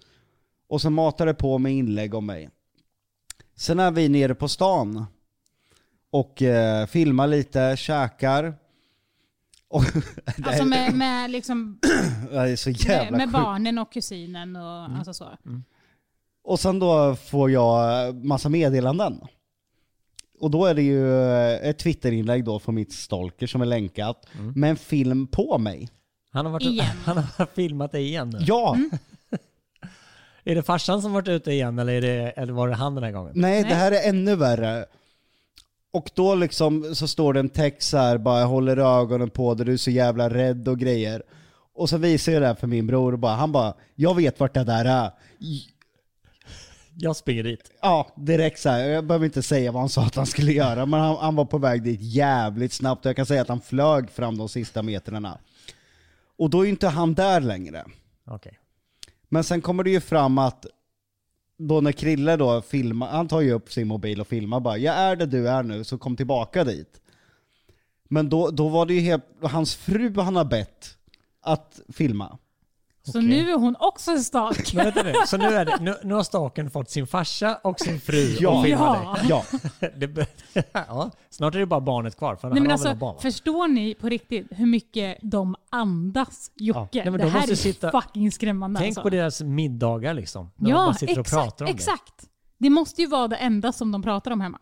S5: Och så matade det på med inlägg om mig. Sen är vi nere på stan och eh, filmar lite, käkar. Och,
S3: Alltså med,
S2: (clears throat)
S3: med, liksom,
S5: det är så
S3: med,
S5: jävla
S3: med
S5: sjukt.
S3: barnen och kusinen och
S2: Mm.
S3: alltså så.
S5: Och sen då får jag massa meddelanden. Och då är det ju ett twitterinlägg då från mitt stalker som är länkat, med en film på mig.
S2: Han har, varit,
S3: Igen.
S2: (laughs) han har filmat dig igen nu.
S5: Ja!
S2: Är det farsan som varit ute igen eller, är det, eller var det han den här gången?
S5: Nej,
S3: Nej.
S5: det här är ännu värre. Och då liksom så står det en text så här bara jag håller ögonen på dig, du är så jävla rädd och grejer. Och så visar jag det här för min bror och bara, han bara, jag vet vart det där är.
S2: Jag springer dit.
S5: Ja, direkt så här. Jag behöver inte säga vad han sa att han skulle göra, men han, han var på väg dit jävligt snabbt. Jag kan säga att han flög fram de sista metrarna. Och då är ju inte han där längre.
S2: Okej.
S5: Men sen kommer det ju fram att då när Krille då filmar, han tar ju upp sin mobil och filmar bara, jag är där du är nu, så kom tillbaka dit. Men då, då var det ju helt, hans fru han har bett att filma.
S3: Så
S2: Okej.
S3: nu är hon också
S2: (laughs)
S3: en stalker.
S2: Men vänta nu, så nu, är det, nu, nu har staken fått sin farsa och sin fru
S5: Ja.
S2: och filmar
S3: Ja.
S2: dig.
S5: Ja,
S2: (laughs) Det, be- ja, (laughs) snart är det bara barnet kvar, för
S3: Nej,
S2: han
S3: men
S2: har väl en barn?
S3: alltså,
S2: va?
S3: förstår ni på riktigt hur mycket de andas Jocke?
S2: Ja. Nej, men
S3: det
S2: de
S3: här
S2: måste
S3: är
S2: sitta-
S3: fucking skrämmande.
S2: Tänk
S3: alltså.
S2: på deras middagar liksom. När de
S3: Ja,
S2: bara sitter
S3: exakt.
S2: och pratar om
S3: exakt. Det. måste ju vara det enda som de pratar om hemma.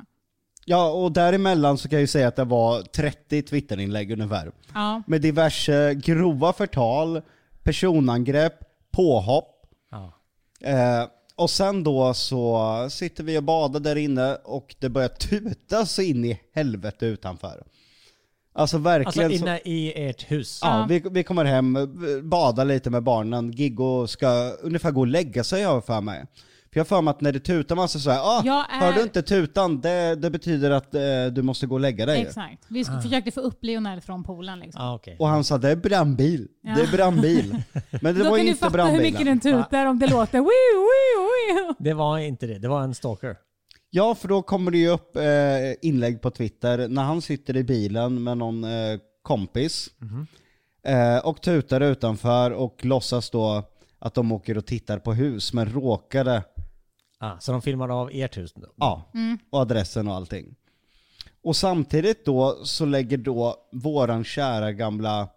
S5: ja och däremellan så kan jag ju säga att det var 30 twitterinlägg ungefär.
S3: Ja.
S5: Med diverse grova förtal, personangrepp, påhopp.
S2: det. Ja.
S5: Eh, och sen då så sitter vi och badar där inne och det börjar tuta så in i helvete utanför. Alltså
S2: Alltså
S5: verkligen. så,
S2: inne i ert hus.
S5: ja, vi, vi kommer hem, eh, badar lite med barnen, Giggo ska ungefär gå och lägga sig har jag för mig. För jag har för mig att när det tutar massa så här, ah,
S3: Jag
S5: hör
S3: är-
S5: du inte tutan, det, det betyder att eh, du måste gå och lägga dig.
S3: Exakt. Vi sk- försökte få upp Lionel från poolen. Liksom.
S2: Ah, okej.
S5: Och han sa det är brandbil, det är
S3: Ja.
S5: brandbil. Men det
S3: Då kan
S5: var ju
S3: du
S5: inte
S3: fatta hur
S5: brandbilen.
S3: mycket den tutar om det låter wii, wii, wii.
S2: Det var inte det, det var en stalker.
S5: Ja, för då kommer det ju upp eh, inlägg på Twitter när han sitter i bilen med någon eh, kompis eh, och tutar utanför och låtsas då att de åker och tittar på hus men råkade,
S2: Ah, så de filmade av ert hus då?
S5: ja,
S3: Mm.
S5: och adressen och allting. Och samtidigt då så lägger då våran kära gamla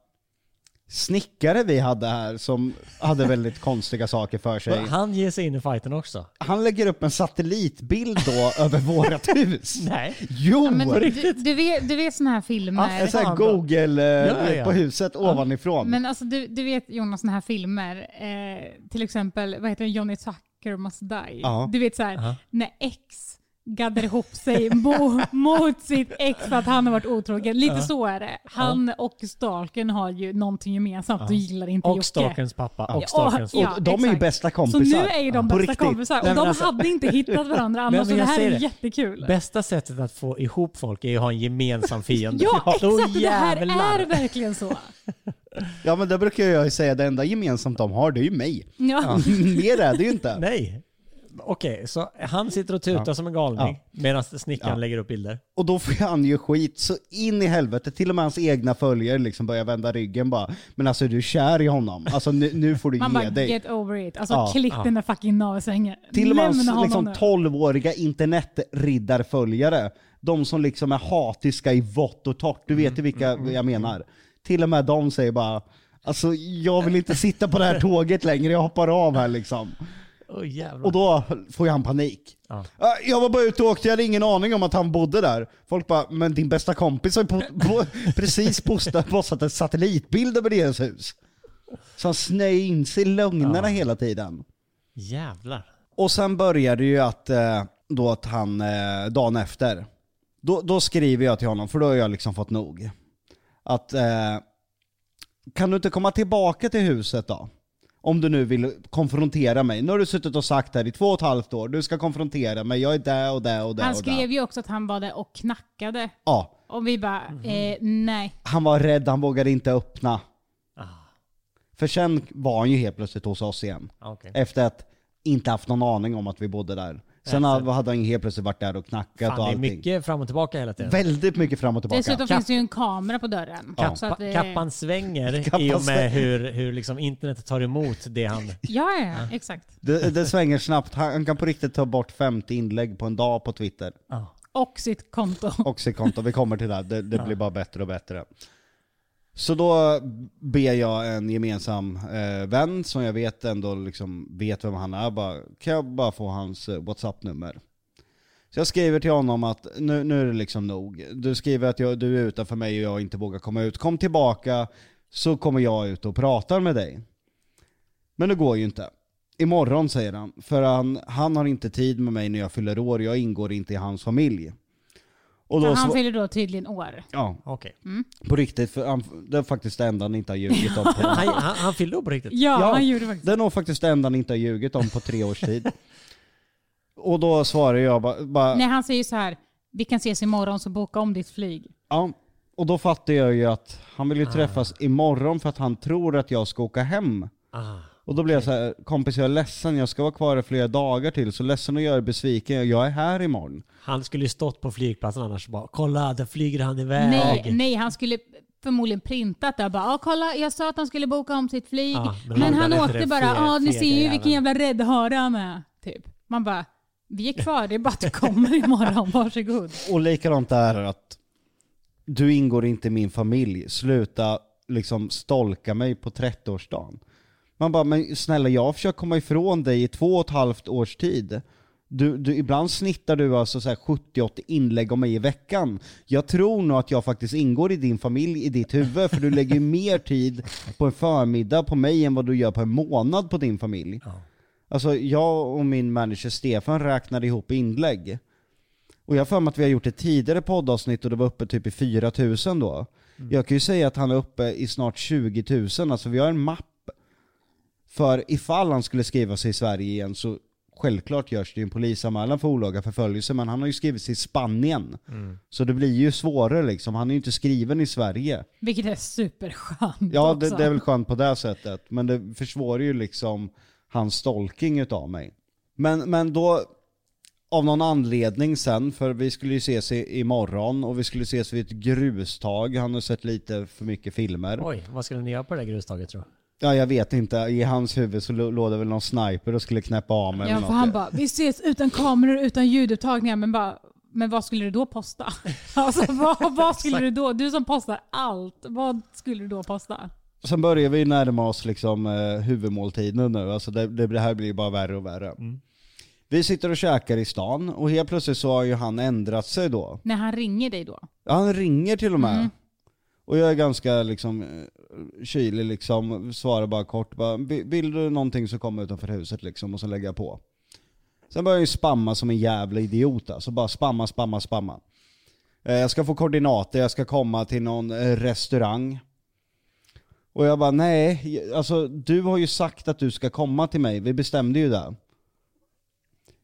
S5: snickare vi hade här som hade väldigt (laughs) konstiga saker för sig.
S2: Han ger sig in i fighten också?
S5: Han lägger upp en satellitbild då (laughs) över vårat hus.
S2: Nej.
S5: Jo!
S3: Ja, men du, du vet, du vet såna här filmer.
S5: En sån här google eh,
S2: Ja, ja.
S5: på huset ovanifrån.
S3: Men alltså, du, du vet Jonas, såna här filmer, eh, till exempel vad heter den, Johnny Tucker Must Die.
S5: Ja.
S3: Du vet så här, när X gaddar ihop sig mo, (laughs) mot sitt ex för att han har varit otrogen. Lite så är det. Han och stalken har ju någonting gemensamt och gillar inte
S2: (laughs)
S3: Jocke.
S2: Och stalkerns pappa och stalkerns...
S3: Ja,
S5: och de är ju
S3: exakt.
S5: bästa kompisar.
S3: Så nu är ju de
S5: På
S3: bästa
S5: riktigt.
S3: kompisar. Och
S2: Nej, men
S3: de
S2: alltså-
S3: hade inte hittat
S5: (laughs)
S3: varandra
S2: men
S3: annars. så det
S2: jag
S3: här är
S2: säger det.
S3: jättekul.
S2: Bästa sättet att få ihop folk är ju att ha en
S3: (laughs)
S2: gemensam fiende.
S3: Ja,
S2: Då
S3: exakt. Det här
S2: jävlar.
S3: är verkligen så.
S5: Ja men det brukar jag ju säga, det enda gemensamt de har det är ju mig.
S3: Ja.
S5: (laughs) Mer är det ju inte.
S2: Nej. Okej, så han sitter och tutar som en galning medan snickaren lägger upp bilder.
S5: Och då får han ju skit så in i helvete. Till och med hans egna följare liksom börjar vända ryggen bara. Men alltså är du kär i honom? Alltså nu, nu får du
S3: Man
S5: ge
S3: bara
S5: dig.
S3: get over it. Alltså
S5: Ja,
S3: klick den där fucking navelsträngen.
S5: Till och med hans
S3: Lämna honom
S5: liksom,
S3: nu.
S5: 12-åriga internetriddarföljare. De som liksom är hatiska i vått och torrt. Du vet ju vilka jag menar. Till och med de säger bara Alltså jag vill inte sitta på det här tåget längre, jag hoppar av här liksom.
S2: Åh jävlar.
S5: Och då får ju han panik. "Ah, Jag var bara ute och åkte, jag hade ingen aning om att han bodde där. Folk bara, men din bästa kompis har ju po- (laughs) po- precis postat, postat en satellitbild över deras hus. Så han snöade in sig i lögnerna hela tiden.
S2: Jävlar.
S5: Och sen började ju att, eh, då att han, eh, dagen efter, då, då skriver jag till honom, för då har jag liksom fått nog. Att, eh, kan du inte komma tillbaka till huset då? Om du nu vill konfrontera mig. Nu har du suttit och sagt här i två och ett halvt år, du ska konfrontera mig, jag är där och där och där
S3: Han
S5: och
S3: skrev
S5: där.
S3: ju också att han var där och knackade.
S5: Ja,
S3: Och vi bara,
S5: Mhm.
S3: eh, nej.
S5: han var rädd, han vågade inte öppna.
S2: Ah.
S5: För sen var han ju helt plötsligt hos oss igen.
S2: Ah, Okej.
S5: Efter att inte haft någon aning om att vi bodde där. Sen hade han helt plötsligt varit där och knackat
S2: Fan,
S5: och
S2: det är
S5: allting.
S2: mycket fram och tillbaka hela tiden.
S5: Väldigt mycket fram och tillbaka.
S3: Dessutom finns det ju en kamera på dörren. Så att eh,
S2: Pa-
S3: vi,
S2: kappan svänger
S5: (laughs) Kappan
S2: i och
S5: svänger.
S2: med hur, hur liksom internet tar emot det han...
S5: (laughs)
S3: Ja, ja, ja, exakt.
S5: Det, det svänger snabbt. Han han kan på riktigt ta bort 50 inlägg på en dag på Twitter.
S2: Ah.
S3: Och sitt konto.
S5: Och sitt konto. Vi kommer till det. här. Det,
S2: Ah.
S5: det blir bara bättre och bättre. Så då ber jag en gemensam eh, vän som jag vet ändå liksom vet vem han är. Bara, kan jag bara få hans eh, WhatsApp-nummer? Så jag skriver till honom att nu, nu är det liksom nog. Du skriver att jag, du är utanför mig och jag inte vågar komma ut. Kom tillbaka så kommer jag ut och pratar med dig. Men det går ju inte. Imorgon säger han, för han, han har inte tid med mig när jag fyller år, jag ingår inte i hans familj. Och
S3: För
S5: då
S3: (laughs) han
S5: sva-
S3: fyller då tydligen år.
S5: Ja,
S2: Okej.
S5: på riktigt, för han, det är faktiskt det enda han inte har ljugit
S3: (laughs)
S5: om. På.
S2: Han, han, han fyllde upp på riktigt.
S3: Ja,
S5: Ja,
S3: han gjorde faktiskt (laughs)
S5: Det är nog faktiskt det enda han inte har ljugit om på tre års tid. Och då svarar jag bara, bara
S3: Nej, han säger ju så här. Vi kan ses imorgon så boka om ditt flyg.
S5: Ja, och då fattar jag ju att han vill ju träffas imorgon för att han tror att jag ska åka hem.
S2: Ah.
S5: Och då blir jag så här, kompis jag är ledsen, jag ska vara kvar i flera dagar till, så ledsen att göra er besviken, jag är här imorgon.
S2: Han skulle ju stått på flygplatsen annars och bara kolla, där flyger han iväg.
S3: Nej, nej, han skulle förmodligen printat där. Bara, ah, kolla, jag sa att han skulle boka om sitt flyg.
S2: Ja, men han
S3: men han
S2: hade
S3: åkte
S2: inte
S3: bara,
S2: det fe-
S3: ja ah, ni
S2: fega
S3: ser ju vilken
S2: jäveln."
S3: jävla räddhare han är. Typ. Man bara, vi är kvar, det är bara att du kommer imorgon, varsågod.
S5: Och likadant är det att du ingår inte i min familj, sluta liksom stolka mig på 30-årsdagen. Man bara, men snälla jag har försökt komma ifrån dig i två och ett halvt års tid. Du, du, ibland snittar du alltså så här 70-80 inlägg om mig i veckan. Jag tror nog att jag faktiskt ingår i din familj i ditt huvud, för du lägger ju mer tid på en förmiddag på mig än vad du gör på en månad på din familj. Alltså jag och min manager Stefan räknade ihop inlägg. Och jag har för mig att vi har gjort ett tidigare poddavsnitt och det var uppe typ i 4000 då. Jag kan ju säga att han är uppe i snart 20 000, alltså vi har en mapp. För ifall han skulle skriva sig i Sverige igen så självklart görs det ju en polisanmälan för olaga förföljelse, men han har ju skrivit sig i Spanien. Så det blir ju svårare liksom, han är ju inte skriven i Sverige.
S3: Vilket är superskönt
S5: Ja,
S3: också.
S5: det, det är väl skönt på det sättet. Men det försvårar ju liksom hans stalking utav mig. Men, men då, av någon anledning sen, för vi skulle ju ses i, imorgon och vi skulle ses vid ett grustag. Han har sett lite för mycket filmer.
S2: Oj, vad skulle ni göra på det där grustaget tror
S5: Ja, jag vet inte. I hans huvud så lo- låg det väl någon sniper och skulle knäppa av mig
S3: Ja,
S5: eller
S3: för han
S5: något.
S3: bara, vi ses utan kameror, utan ljudupptagningar, men bara, men vad skulle du då posta? (laughs) Alltså, vad, vad skulle du då? Du som postar allt, vad skulle du då posta?
S5: Sen börjar vi närma oss liksom eh, huvudmåltiden nu, alltså det, det, det här blir ju bara värre och värre. Vi sitter och käkar i stan och helt plötsligt så har ju han ändrat sig då.
S3: När han ringer dig då?
S5: Ja, han ringer till och med. Och jag är ganska liksom eh, kylig liksom, svarar bara kort. Bara, "Vi- vill du någonting så kom utanför huset liksom och så lägger jag på. Sen börjar jag ju spamma som en jävla idiot alltså. Bara spamma, spamma, spamma. Eh, Jag ska få koordinater, jag ska komma till någon eh, restaurang. Och jag bara nej, jag- alltså du har ju sagt att du ska komma till mig, vi bestämde ju det.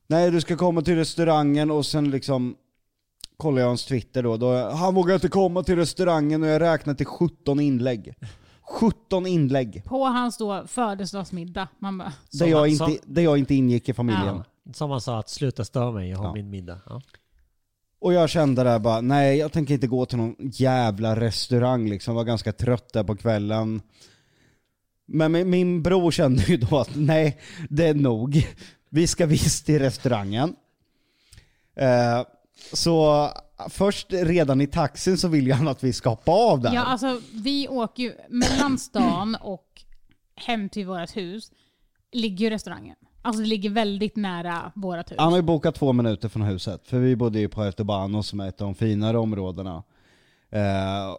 S5: Nej du ska komma till restaurangen och sen liksom kollar jag hans twitter då, då han vågar inte komma till restaurangen och jag räknar till 17 inlägg. 17 inlägg!
S3: På hans då födelsedagsmiddag. Man bara,
S5: Där jag,
S2: som-
S5: inte, där jag inte ingick i familjen.
S2: jag? Som han sa, att sluta störa mig, jag har min middag. Ja.
S5: Och jag kände där bara, nej jag tänker inte gå till någon jävla restaurang liksom, var ganska trött där på kvällen. Men min, min bror kände ju då att nej, det är nog. Vi ska visst till restaurangen. Eh, så först redan i taxin så vill ju han att vi ska hoppa av där.
S3: Ja, alltså vi åker ju mellan stan och hem till vårt hus ligger ju restaurangen. Alltså det ligger väldigt nära vårt hus.
S5: Han har ju bokat två minuter från huset, för vi bodde ju på Etobano som är ett av de finare områdena. Eh,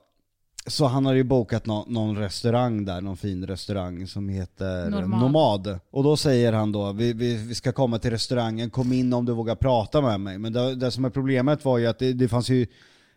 S5: så han har ju bokat nå- någon restaurang där, någon fin restaurang som heter
S3: Nomad.
S5: Nomad. Och då säger han då, vi, vi, vi ska komma till restaurangen, kom in om du vågar prata med mig. Men det, det som är problemet var ju att det, det fanns ju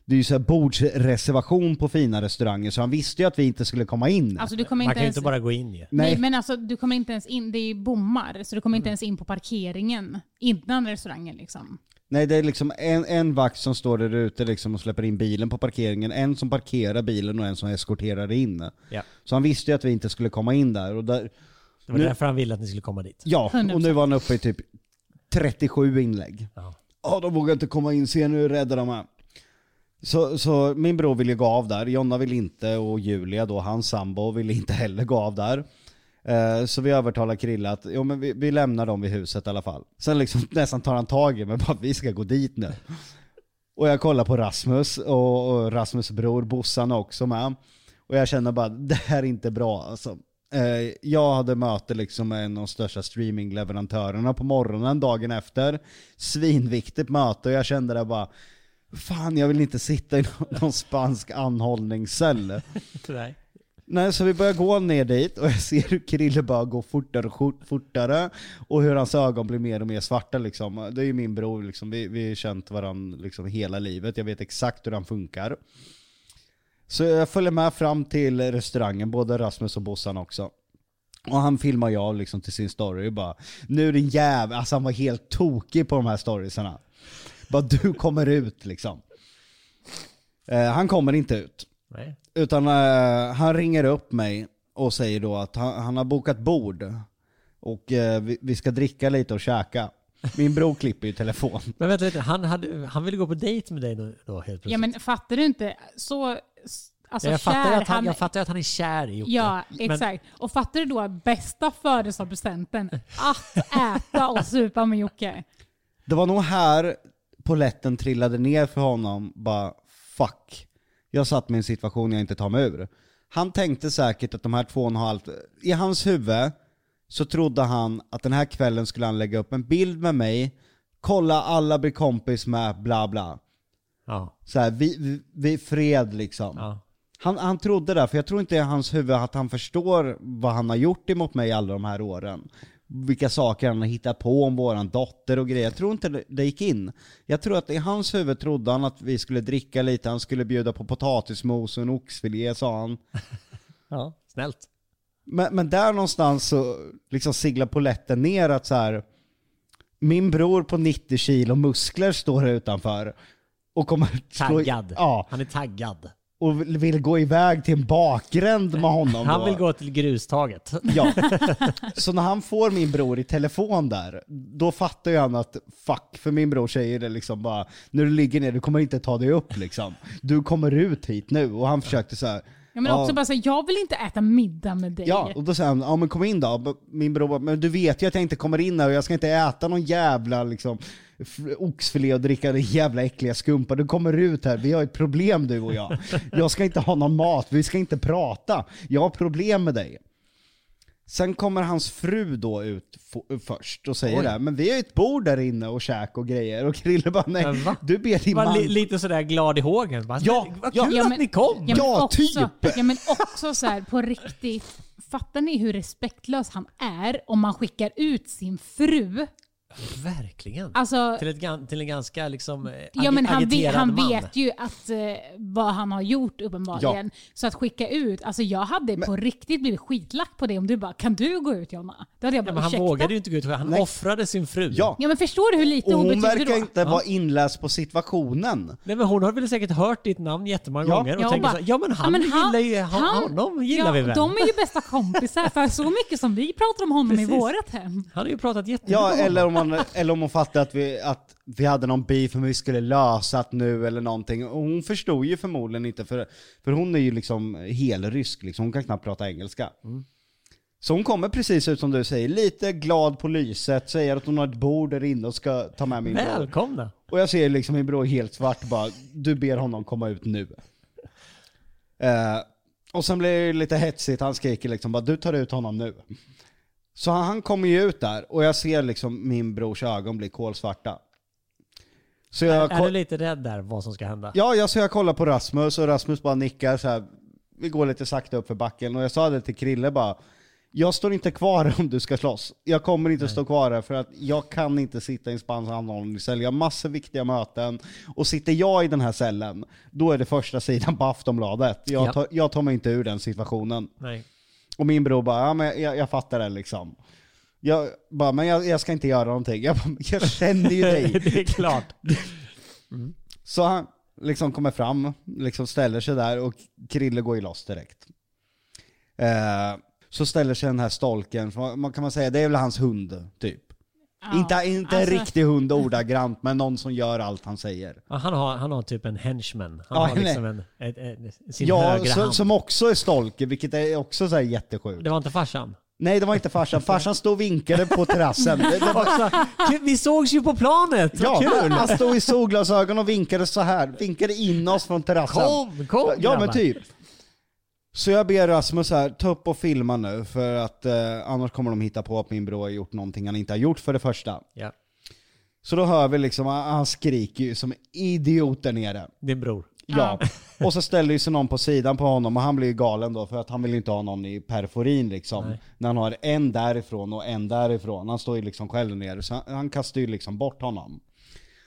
S5: det är ju så här bordsreservation på fina restauranger, så han visste ju att vi inte skulle komma in.
S3: Alltså du kommer
S2: Man
S3: inte
S2: kan ju
S3: ens...
S2: inte bara gå in ju.
S3: Nej. men alltså du kommer inte ens in, det är ju bommar, så du kommer inte ens in på parkeringen innan restaurangen liksom.
S5: Nej det är liksom en, en vakt som står där ute liksom och släpper in bilen på parkeringen, en som parkerar bilen och en som eskorterar in.
S2: Ja.
S5: Så han visste ju att vi inte skulle komma in där. Och där
S2: Det var
S5: Nu-
S2: därför han ville att ni skulle komma dit.
S5: ja,
S3: 100%.
S5: och nu var han uppe i typ 37 inlägg.
S2: Ja.
S5: Ja, de vågar inte komma in, se nu hur rädda de är. Så, så min bror ville gå av där, Jonna vill inte och Julia då, hans sambo, ville inte heller gå av där. Eh, Så vi övertalar Krille att jo, men vi, vi lämnar dem vid huset i alla fall. Sen liksom (laughs) nästan tar han tag i mig bara vi ska gå dit nu. Och jag kollar på Rasmus och, och Rasmus bror Bossan är också med. Och jag känner bara det här är inte bra alltså. Eh, jag hade möte liksom med en av de största streamingleverantörerna på morgonen dagen efter. Svinviktigt möte och jag kände det bara Fan jag vill inte sitta i (laughs) någon, någon spansk anhållningscell.
S2: Nej.
S5: Nej, så vi börjar gå ner dit och jag ser hur Krille bara går fortare och fort- fortare och hur hans ögon blir mer och mer svarta liksom. Det är ju min bror liksom, vi, vi har känt varandra liksom hela livet. Jag vet exakt hur han funkar. Så jag följer med fram till restaurangen, både Rasmus och Bossan också. Och han filmar jag liksom till sin story och bara Nu din jävel, alltså han var helt tokig på de här storiesarna. Bara du kommer ut liksom. Eh, han kommer inte ut.
S2: Nej.
S5: Utan eh, han ringer upp mig och säger då att han, han har bokat bord. Och eh, vi, vi ska dricka lite och käka. Min bror klipper ju telefon.
S2: Men vänta lite, han, hade, han ville gå på dejt med dig då, då helt plötsligt.
S3: Ja men fattar du inte? Så, s- alltså
S2: jag,
S3: kär
S2: fattar att han,
S3: han
S2: jag fattar att han är kär i Jocke.
S3: Ja,
S2: Men-
S3: exakt. Och fattar du då bästa födelsedagspresenten? Att äta och supa med Jocke.
S5: Det var nog här poletten trillade ner för honom, bara fuck. Jag satt mig i en situation jag inte tar mig ur. Han tänkte säkert att de här två och en halv, i hans huvud så trodde han att den här kvällen skulle han lägga upp en bild med mig, kolla alla blir kompis med, bla bla.
S2: Ja,
S5: Så här, vi, vi, vi är fred liksom.
S2: ja.
S5: Han, han trodde det, för jag tror inte i hans huvud att han förstår vad han har gjort emot mig alla de här åren. Vilka saker han har hittat på om våran dotter och grejer. Jag tror inte det- det gick in. Jag tror att i hans huvud trodde han att vi skulle dricka lite, han skulle bjuda på potatismos och en oxfilé sa han.
S2: ja. Snällt.
S5: Men, men där någonstans så liksom siglar poletten ner att så här. min bror på 90 kilo muskler står här utanför. Och kommer att slå-
S2: Taggad.
S5: Ja,
S2: Han är taggad.
S5: och vill- vill gå iväg till en bakgränd med honom
S2: Han
S5: då.
S2: vill gå till
S5: (laughs)
S2: grustaget.
S5: Ja. Så när han får min bror i telefon där, då fattar ju han att fuck, för min bror säger det liksom bara, när du ligger ner, du kommer inte ta dig upp liksom. Du kommer ut hit nu. Och han försökte så här.
S3: Ja, men också bara säga, jag vill inte äta middag med dig. (laughs)
S5: Ja, och då säger han, ja men kom in då. Min bror bara, men du vet ju att jag inte kommer in här och jag ska inte äta någon jävla liksom, f- oxfilé och dricka den jävla äckliga skumpa. Du kommer ut här, vi har ett problem du och jag. Jag ska inte ha någon mat, vi ska inte prata. Jag har problem med dig. Sen kommer hans fru då ut f- först och säger det, här, men vi har ju ett bord där inne och käk och grejer. Och Krille bara, nej
S2: Men va?
S5: du ber din
S2: Var
S5: man...
S2: li, lite sådär glad i hågen. Bara,
S5: Ja,
S2: vad
S5: ja.
S2: kul
S3: Ja,
S2: att
S3: men-
S2: ni kom!
S3: Ja, men
S5: Ja,
S3: också,
S5: typ.
S3: Ja men också så här på riktigt. Fattar ni hur respektlös han är om man skickar ut sin fru?
S2: Verkligen.
S3: Alltså,
S2: Till, ett, gan- till en ganska liksom eh, agi-
S3: ja, men han, vet,
S2: agiterad
S3: han
S2: man.
S3: vet ju att, eh, vad han har gjort uppenbarligen. Så att skicka ut, alltså jag hade på riktigt blivit skitlack på det om du bara “Kan du gå ut Jonna?” Då hade jag
S2: Ja,
S3: bara
S2: men han
S3: “Ursäkta?”
S2: vågade ju inte gå ut. Han offrade sin fru.
S5: Ja,
S3: Ja men förstår du hur lite
S5: och hon
S3: hon betyder då?
S5: verkar inte vara inläst på situationen.
S2: Nej, men hon har väl säkert hört ditt namn jättemånga
S5: Ja.
S2: gånger och
S3: hon
S2: tänker
S3: bara,
S2: så, ja men han gillar ju, han, honom gillar
S3: ja,
S2: vi väl?
S3: De är ju bästa kompisar för så mycket som vi pratar om honom
S2: Precis.
S3: i vårat hem.
S2: Han har ju pratat jättemycket
S5: Ja,
S2: om
S5: eller
S2: honom.
S5: om, man, eller om hon fattade att vi, att vi hade någon beef men vi skulle lösa det nu eller någonting. Och hon förstod ju förmodligen inte, för, för hon är ju liksom helrysk, liksom. hon kan knappt prata engelska. Så hon kommer precis ut som du säger, lite glad på lyset, säger att hon har ett bord där inne och ska ta med min bror.
S2: Välkomna!
S5: Och jag ser liksom min bror helt svart bara, du ber honom komma ut nu. Eh, och sen blir det lite hetsigt, han skriker liksom bara, du tar ut honom nu. Så han, han kommer ju ut där och jag ser liksom min brors ögon bli kolsvarta. Så jag,
S2: Är du
S5: ko-
S2: lite rädd där vad som ska hända?
S5: ja, jag, så jag kollar på Rasmus och Rasmus bara nickar så här. vi går lite sakta upp för backen och jag sa det till Krille bara, jag står inte kvar om du ska slåss. Jag kommer inte stå kvar här för att jag kan inte sitta i en spansk anhållningscell. Jag har massor viktiga möten. Och sitter jag i den här cellen, då är det första sidan på Aftonbladet. Jag
S2: Ja.
S5: tar, jag tar mig inte ur den situationen.
S2: Nej.
S5: Och min bror bara, ja, men jag, jag fattar det liksom. Jag bara, men jag, jag ska inte göra någonting. Jag, bara, jag känner ju dig.
S2: (laughs) det är klart.
S5: Så han liksom kommer fram, liksom ställer sig där och Krille går ju loss direkt. Eh, så ställer sig den här stolken, för man kan man säga, det är väl hans hund typ.
S3: Ja,
S5: inte inte
S3: alltså-
S5: en riktig hund ordagrant, men någon som gör allt han säger.
S2: Ja, han, har, han har typ en henchman. Han
S5: Ja,
S2: har
S5: nej.
S2: liksom en, ett, ett, sin
S5: Ja,
S2: högra
S5: så,
S2: hand.
S5: som också är stolke, vilket är också så här jättesjukt.
S2: Det var inte farsan.
S5: Nej, det var
S2: (laughs)
S5: inte farsan. Farsan stod och vinkade på terrassen. Det, det var
S2: Alltså, Kul, Vi sågs ju på planet!
S5: Ja,
S2: Vad kul!
S5: han stod i solglasögon och vinkade så här. Vinkade in oss från terrassen.
S2: Kom, kom
S5: Ja men
S2: grabbar.
S5: typ. Så jag ber Rasmus här, ta upp och filma nu för att eh, annars kommer de hitta på att min bror har gjort någonting han inte har gjort för det första.
S2: Ja,
S5: Så då hör vi liksom, han han skriker ju som idiot där nere.
S2: din bror.
S5: Ja. (laughs) Och så ställer ju sig någon på sidan på honom och han blir ju galen då för att han vill ju inte ha någon i perforin liksom. När han har en därifrån och en därifrån. Han står ju liksom själv ner så han, han kastar ju liksom bort honom.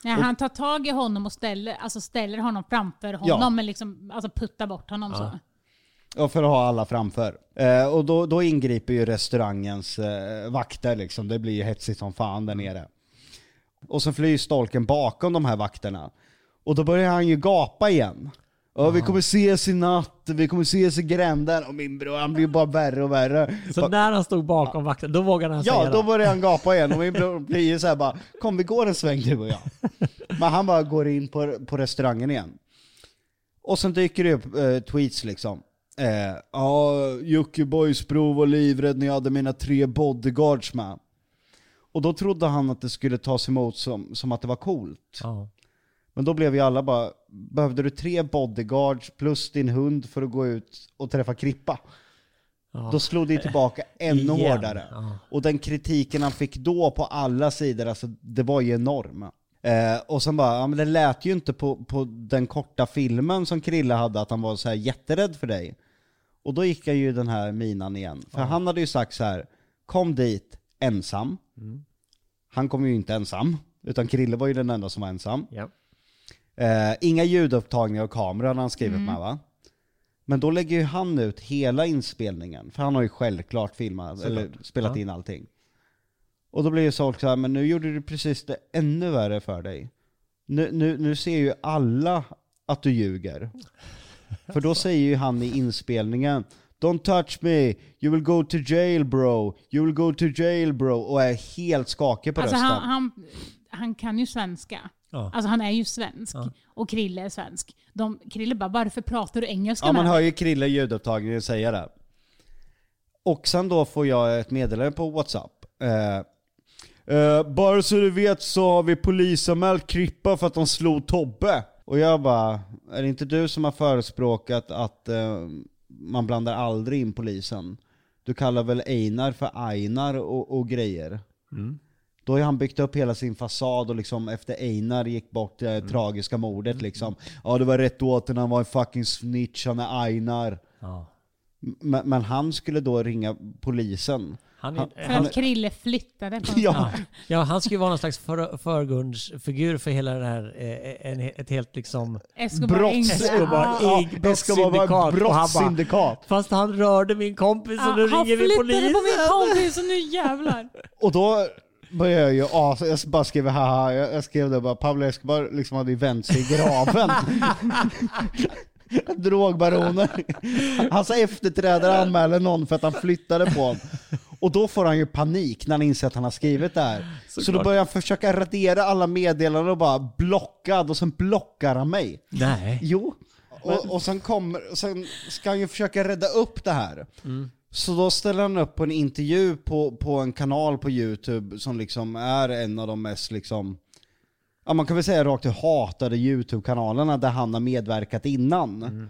S3: Nej, han tar tag i honom och ställer, alltså ställer honom framför honom,
S5: Ja.
S3: men liksom, alltså puttar bort honom så.
S5: Ja, för att ha alla framför. Eh, och då, då ingriper ju restaurangens eh, vakter liksom. Det blir ju hetsigt som fan där nere. Och så flyr stolken bakom de här vakterna. Och då börjar han ju gapa igen. Ja, vi kommer ses i natt, vi kommer ses i gränden. Och min bror han blir bara värre och värre.
S2: Så
S5: Bara-
S2: när han stod bakom vakten, då vågade han
S5: Ja,
S2: säga
S5: då
S2: det.
S5: börjar han gapa igen och min bror blir ju såhär bara Kom vi går en sväng du och jag. Men han bara går in på, på restaurangen igen. Och sen dyker det upp eh, tweets liksom. Eh, Ja, Jockiboi-sprov och livrädd när jag hade mina tre bodyguards med. Och då trodde han att det skulle tas emot som, som att det var coolt.
S2: (laughs) Ja.
S5: Men då blev ju alla bara, behövde du tre bodyguards plus din hund för att gå ut och träffa Krippa? Då slog det ju tillbaka ännu
S2: Igen,
S5: hårdare.
S2: ja.
S5: Och den kritiken han fick då på alla sidor, alltså det var ju enorm. Eh, och sen bara, ja, men det lät ju inte på, på den korta filmen som Krille hade att han var så här jätterädd för dig. Och då gick jag ju den här minan igen. För han hade ju sagt så här, kom dit ensam.
S2: Mm.
S5: Han kom ju inte ensam, utan Krille var ju den enda som var ensam.
S2: Ja.
S5: Eh, inga ljudupptagningar av kameran har han skrivit
S3: Mm.
S5: med va? Men då lägger ju han ut hela inspelningen, för han har ju självklart filmat, eller spelat in allting. Och då blir ju folk såhär, men nu gjorde du precis det ännu värre för dig. Nu, nu, nu ser ju alla att du
S3: (laughs)
S5: ljuger. För då säger ju han i inspelningen, Don't touch me, you will go to jail bro, you will go to jail bro, och är helt skakig på
S3: Alltså
S5: rösten.
S3: han, han, han kan ju svenska.
S2: Ja.
S3: Alltså han är ju svensk. Och Krille är svensk. De, Krille bara, varför pratar du engelska
S5: Ja,
S3: med
S5: man hör
S3: mig?"
S5: ju Krille i ljudupptagningen säga det. Och sen då får jag ett meddelande på WhatsApp. Eh, eh, bara så du vet så har vi polisanmält Krippa för att de slog Tobbe. Och jag bara, är det inte du som har förespråkat att eh, man blandar aldrig in polisen? Du kallar väl Einar för Einar och, och grejer? Då har ju han byggt upp hela sin fasad och liksom efter Einar gick bort det tragiska mordet liksom. Ja det var rätt åt den, han var en fucking snitch, han är Einar.
S2: Ja.
S5: M- Men, men han skulle då ringa polisen.
S2: Han,
S5: Han-
S2: är,
S3: För
S2: han,
S3: att Krille flyttade. På (laughs)
S5: Ja,
S2: ja, han ska ju vara någon slags för, förgrundsfigur för hela den här, eh, en, ett helt liksom...
S3: Escobar
S5: brotts...
S3: Engström. (laughs)
S2: Escobar.
S3: Ja.
S5: Ja,
S2: Ig-
S5: Escobar
S2: brottssyndikat.
S5: var
S2: Och han bara-
S5: brottssyndikat.
S2: Fast han rörde min kompis
S3: Ja,
S2: och nu
S3: han
S2: ringer vi
S3: flyttade på
S2: polisen.
S3: min kompis och nu jävlar.
S5: Och då började jag ju as... Jag bara skrev haha, jag jag skrev det bara Pablo Escobar liksom hade ju vänt sig i graven. Drogbaroner. Hans efterträdare anmäler någon för att han flyttade på honom. Och då får han ju panik när han inser att han har skrivit det här. Så, då
S2: Såklart.
S5: börjar han försöka radera alla meddelanden och bara blockad och sen blockar han mig.
S2: Nej.
S5: Jo. Och, och sen, kommer, sen ska han ju försöka rädda upp det här.
S2: Mm.
S5: Så då ställer han upp på en intervju på, på en kanal på YouTube som liksom är en av de mest liksom, ja man kan väl säga rakt ut hatade YouTube-kanalerna där han har medverkat innan.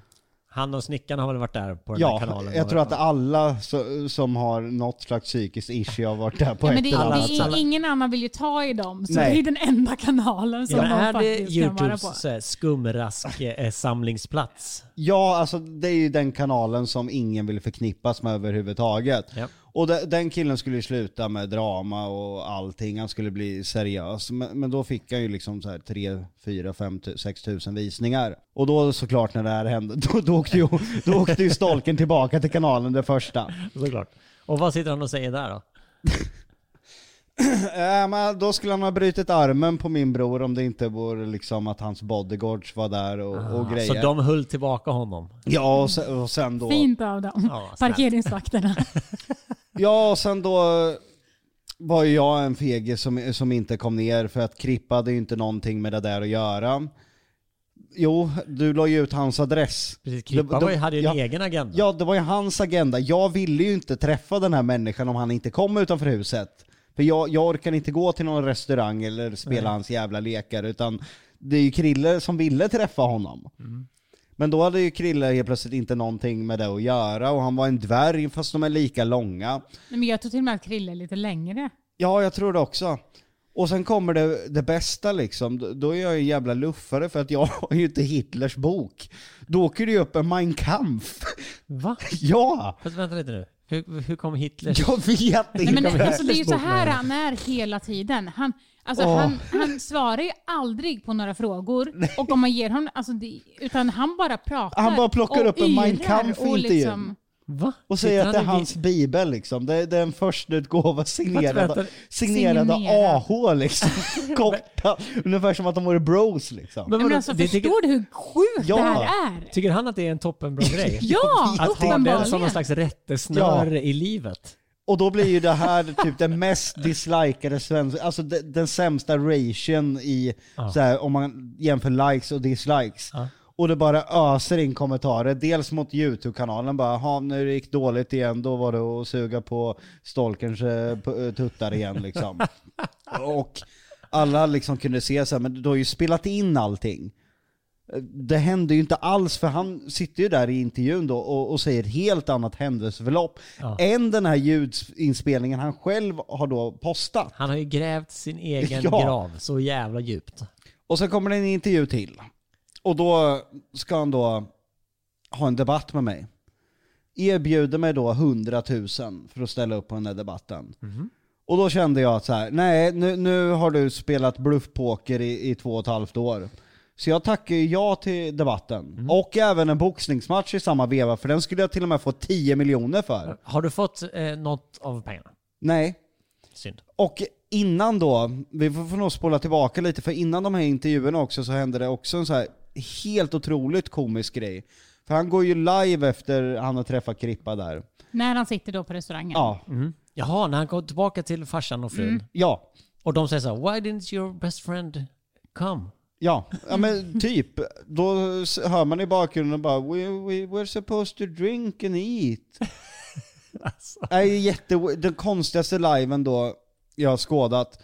S2: Han och snickaren har väl varit där Mm. på den här
S5: Ja,
S2: kanalen?
S5: jag tror att alla så, som har något slags psykiskt issue har varit där på
S3: Ja, men
S5: ett
S3: det,
S5: eller
S3: det
S5: annat
S3: är,
S5: sätt.
S3: ingen annan vill ju ta i dem, så
S5: Nej.
S3: det är ju den enda kanalen som
S2: Ja, men
S3: de
S2: är det
S3: faktiskt kan vara
S2: Youtubes
S3: på.
S2: så här skumrask-samlingsplats?
S5: Ja, alltså det är ju den kanalen som ingen vill förknippas med överhuvudtaget.
S2: Ja.
S5: Och de, den killen skulle ju sluta med drama och allting, han skulle bli seriös. Men, men då fick han ju liksom så här 3, 4, 5, 6 tusen visningar. Och då såklart när det här hände, (laughs) då, då, åkte, ju, då åkte ju stalken tillbaka till kanalen det första.
S2: eh, Såklart. Och vad sitter han och säger där då?
S5: Äh, men då skulle han ha brutit armen på min bror om det inte vore liksom att hans bodyguards var där och, och grejer.
S2: Ah, Så de höll tillbaka honom?
S5: Ja, och sen, och sen då...
S3: Fint av dem.
S2: Ja, snällt.
S3: Parkeringsvakterna. (laughs)
S5: Ja, och sen då var ju jag en fege som, som inte kom ner för att Krippa hade ju inte någonting med det där att göra. Jo, du la ju ut hans adress.
S2: Precis, Klippa
S5: Det- det-
S2: var ju- hade ju en
S5: ja.
S2: egen agenda.
S5: Ja, det var ju hans agenda. Jag ville ju inte träffa den här människan om han inte kom utanför huset. För jag, jag orkar inte gå till någon restaurang eller spela hans jävla lekar, utan det är ju Krille som ville träffa honom.
S2: Mm.
S5: Men då hade ju Krille helt plötsligt inte någonting med det att göra, och han var en dvärg fast de är lika långa.
S3: Nej, Men jag tror till och med att Krille är lite längre.
S5: Ja, jag tror det också. Och sen kommer det, det bästa liksom, Då- då är jag en jävla luffare för att jag (laughs) har ju inte Hitlers bok. Då åker det ju upp en Mein Kampf. (laughs)
S2: Va?
S5: ja!
S2: Fast vänta lite nu. Hur, hur kom Hitler...
S5: Jag vet
S3: Nej,
S5: inte.
S3: men,
S2: kommer
S3: alltså, det är ju så
S2: Hitlers bok
S3: här
S2: med.
S3: han är hela tiden. Han, alltså,
S5: Åh.
S3: han, han svarar ju aldrig på några frågor. Och om man ger honom, alltså, det, utan han bara pratar.
S5: Han bara plockar
S3: och
S5: upp en Mein
S3: yrar
S5: Kampf
S3: och liksom-
S5: inte igen.
S2: Va?
S5: Och säger att det är
S2: Tittade vi-
S5: hans bibel liksom. Det är, det är en förstutgåva
S2: Vänta,
S5: signerad,
S2: vänta.
S5: signerad av
S3: Signerad.
S5: AH liksom. Korta. Ungefär som att de vore bros liksom.
S2: Men
S3: Men
S2: vadå,
S3: alltså,
S2: det tycker,
S3: förstår du hur sjukt
S5: Ja.
S3: det här är?
S2: tycker han att det är en toppenbra grej?
S3: (laughs) Ja,
S2: Att ha den som någon
S3: uppenbarligen.
S2: slags rättesnöre i livet?
S5: Och då blir ju det här typ den mest dislikade svenska, alltså de, den sämsta ration i, så här, om man jämför likes och dislikes. Och det bara öser in kommentarer, dels mot YouTube-kanalen bara ha nu gick dåligt igen, då var det att suga på stalkerns eh, pu- eh, tuttar igen liksom. och alla liksom kunde se så här, men du har ju spelat in allting. Det hände ju inte alls, för han sitter ju där i intervjun då och, och säger ett helt annat händelseförlopp än den här ljudinspelningen han själv har då postat.
S2: Han har ju grävt sin egen
S5: (laughs) Ja.
S2: grav så jävla djupt.
S5: Och sen kommer det en intervju till. Och då ska han då ha en debatt med mig. Erbjuder mig då 100 000 för att ställa upp på den här debatten. Och då kände jag att så här, nej nu, nu har du spelat bluffpoker i, i två och ett halvt år. Så jag tackar ju ja till debatten. Och även en boxningsmatch i samma veva, för den skulle jag till och med få 10 miljoner för.
S2: Har du fått eh, något av pengarna?
S5: Nej,
S2: Synd.
S5: och innan då, vi får får nog spola tillbaka lite, för innan de här intervjuerna också så hände det också en så här helt otroligt komisk grej. För han går ju live efter han har träffat Krippa där.
S3: När han sitter då på restaurangen.
S5: Ja,
S2: Jaha, när han kom tillbaka till farsan och frun.
S5: ja,
S2: Och de säger så här, Why didn't your best friend come?
S5: ja. Ja men typ. Då s- hör man i bakgrunden bara we, we were supposed to drink and eat. Det är ju jätte, den konstigaste liven då jag har skådat.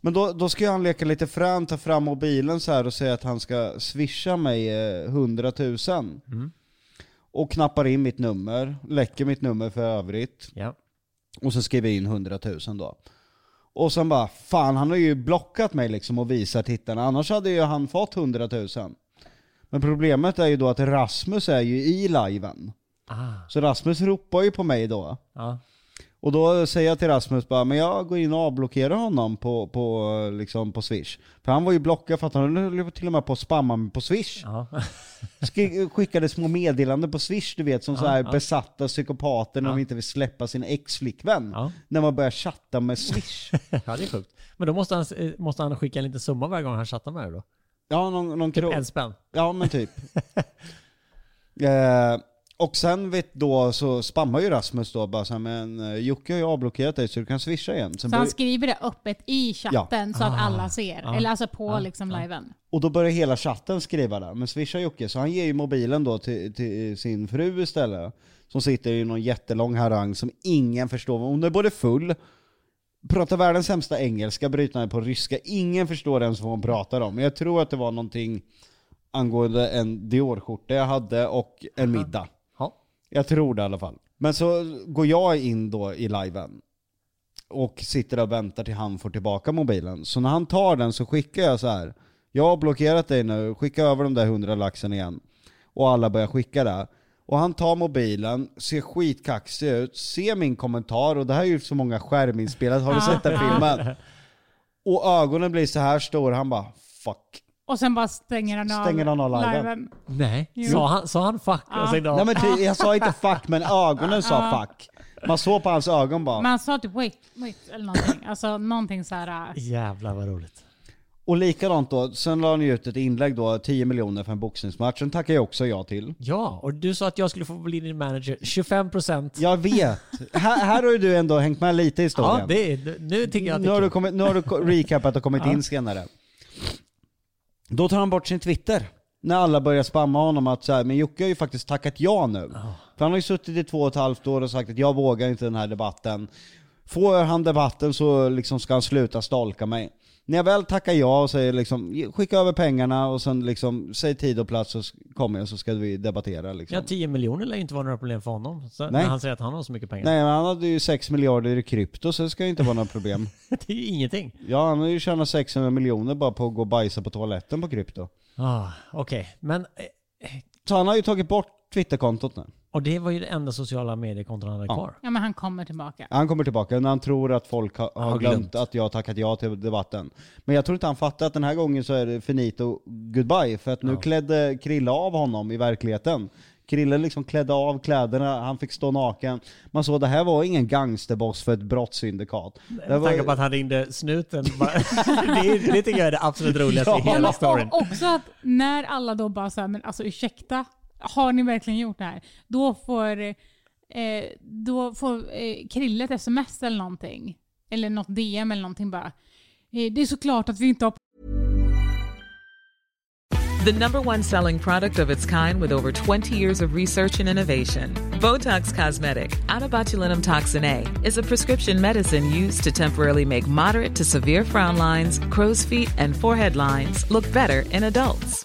S5: Men då, då ska ju han leka lite frän, ta fram mobilen så här och säga att han ska swisha mig eh, 100 000. Och knappar in mitt nummer, läcker mitt nummer för övrigt.
S2: Ja.
S5: Och så skriver jag in 100 000 då. Och sen bara, fan han har ju blockat mig liksom och visar tittarna, annars hade ju han fått 100 000. Men problemet är ju då att Rasmus är ju i liven.
S2: Ah,
S5: Så Rasmus ropar ju på mig då.
S2: ja.
S5: Och då säger jag till Rasmus bara, men jag går in och avblockerar honom på, på, liksom på swish. För han var ju blockad för att han höll ju till och med på att spamma mig på swish.
S2: ja.
S5: Sk- skickade små meddelanden på swish du vet, som så här besatta psykopater när de inte vill släppa sin ex-flickvän.
S2: Ja.
S5: När man börjar chatta med swish.
S2: ja, det är sjukt. Men då måste han, eh, måste han skicka en liten summa varje gång han chattar med dig då?
S5: Ja, någon, någon
S2: Typ
S5: krog.
S2: en spänn?
S5: Ja, men typ. eh, och sen vet då så spammar ju Rasmus då bara så här, men eh, Jocke har ju avblockerat dig så du kan swisha igen. Sen
S3: Så
S5: börjar,
S3: han skriver det öppet i chatten så
S2: Ah.
S3: att alla ser. Eller alltså på liksom liven.
S5: och då börjar hela chatten skriva där, men swisha Jocke. Så han ger ju mobilen då till, till sin fru istället. Som sitter i någon jättelång harang som ingen förstår. Hon är både full, pratar världens sämsta engelska, bryter ner på ryska. Ingen förstår ens vad hon pratar om. Jag tror att det var någonting angående en Dior-skjorta jag hade och en middag.
S2: Ja.
S5: Jag tror det i alla fall. Men så går jag in då i liven och sitter och väntar till han får tillbaka mobilen. Så när han tar den så skickar jag så här. Jag har blockerat dig nu, skicka över de där hundra laxen igen. Och alla börjar skicka det. Och han tar mobilen, ser skitkaxig ut, ser min kommentar och det här är ju så många skärminspelat, har du sett den filmen? Och ögonen blir så här stora, han bara fuck.
S3: Och sen bara stänger han av,
S5: Stänger han av liven.
S2: Nej. Sa han, sa han fuck? Alltså, Och sen,
S5: Nej men ty, jag sa inte fuck men ögonen sa fuck. Man såg på hans ögon bara.
S3: Men han sa typ wait, wait eller någonting. Alltså någonting så här. äh,
S2: Jävlar vad roligt.
S5: Och likadant då, sen la han ju ut ett inlägg då, 10 miljoner för en boxningsmatch, den tackar jag också ja till.
S2: Ja, och du sa att jag skulle få bli din manager. 25 procent.
S5: Jag vet, här, här har ju du ändå hängt med lite i historien.
S2: Ja, det är, nu tycker jag att
S5: nu,
S2: det
S5: har
S2: är
S5: du
S2: kul.
S5: kommit, nu har
S2: (laughs)
S5: du ko- recapat och kommit in senare. Då tar han bort sin Twitter. När alla börjar spamma honom att så här, men Jocke har ju faktiskt tackat ja nu. För han har ju suttit i två och ett halvt år och sagt att jag vågar inte den här debatten. Får han debatten så liksom ska han sluta stalka mig. När jag väl tackar ja och säger liksom, skicka över pengarna och sen liksom, säg tid och plats så s- kommer jag så ska vi debattera liksom.
S2: Ja, 10 miljoner lär ju inte vara några problem för honom. Så
S5: Nej.
S2: När han säger att han har så mycket pengar.
S5: Nej men han hade ju 6 miljarder i krypto så det ska ju inte vara några problem.
S2: (laughs) Det är ju ingenting.
S5: Ja, han har ju tjänat 600 miljoner bara på att gå och bajsa på toaletten på krypto.
S2: Ah, Okej, men eh,
S5: Så han har ju tagit bort Twitterkontot nu.
S2: Och det var ju det enda sociala mediekonton han hade
S5: Ja.
S2: kvar.
S3: Ja, men han kommer tillbaka.
S5: Han kommer tillbaka när han tror att folk har, har
S2: Har
S5: glömt.
S2: glömt.
S5: att jag har tackat ja till debatten. Men jag tror inte han fattar att den här gången så är det finito goodbye. För att nu
S2: Ja.
S5: klädde Krille av honom i verkligheten. Krille liksom klädde av kläderna, han fick stå naken. Man såg det här var ingen gangsterboss för ett brottssyndikat. Det
S2: Med
S5: var,
S2: tanke på att han ringde snuten. (laughs) bara- det, är- det tycker jag är det absolut roligaste i
S5: (laughs) Ja,
S3: Ja,
S2: hela
S3: men
S2: storyn.
S3: o- också att när alla då bara såhär, men alltså ursäkta, har ni verkligen gjort det här? Då får, eh, då får eh, Krille ett sms eller någonting. Eller något DM eller någonting bara. Eh, det är såklart att vi inte har
S7: The number one selling product of its kind with over 20 years of research and innovation. Botox Cosmetic, out of botulinum toxin A, is a prescription medicine used to temporarily make moderate to severe frown lines, crow's feet, and forehead lines look better in adults.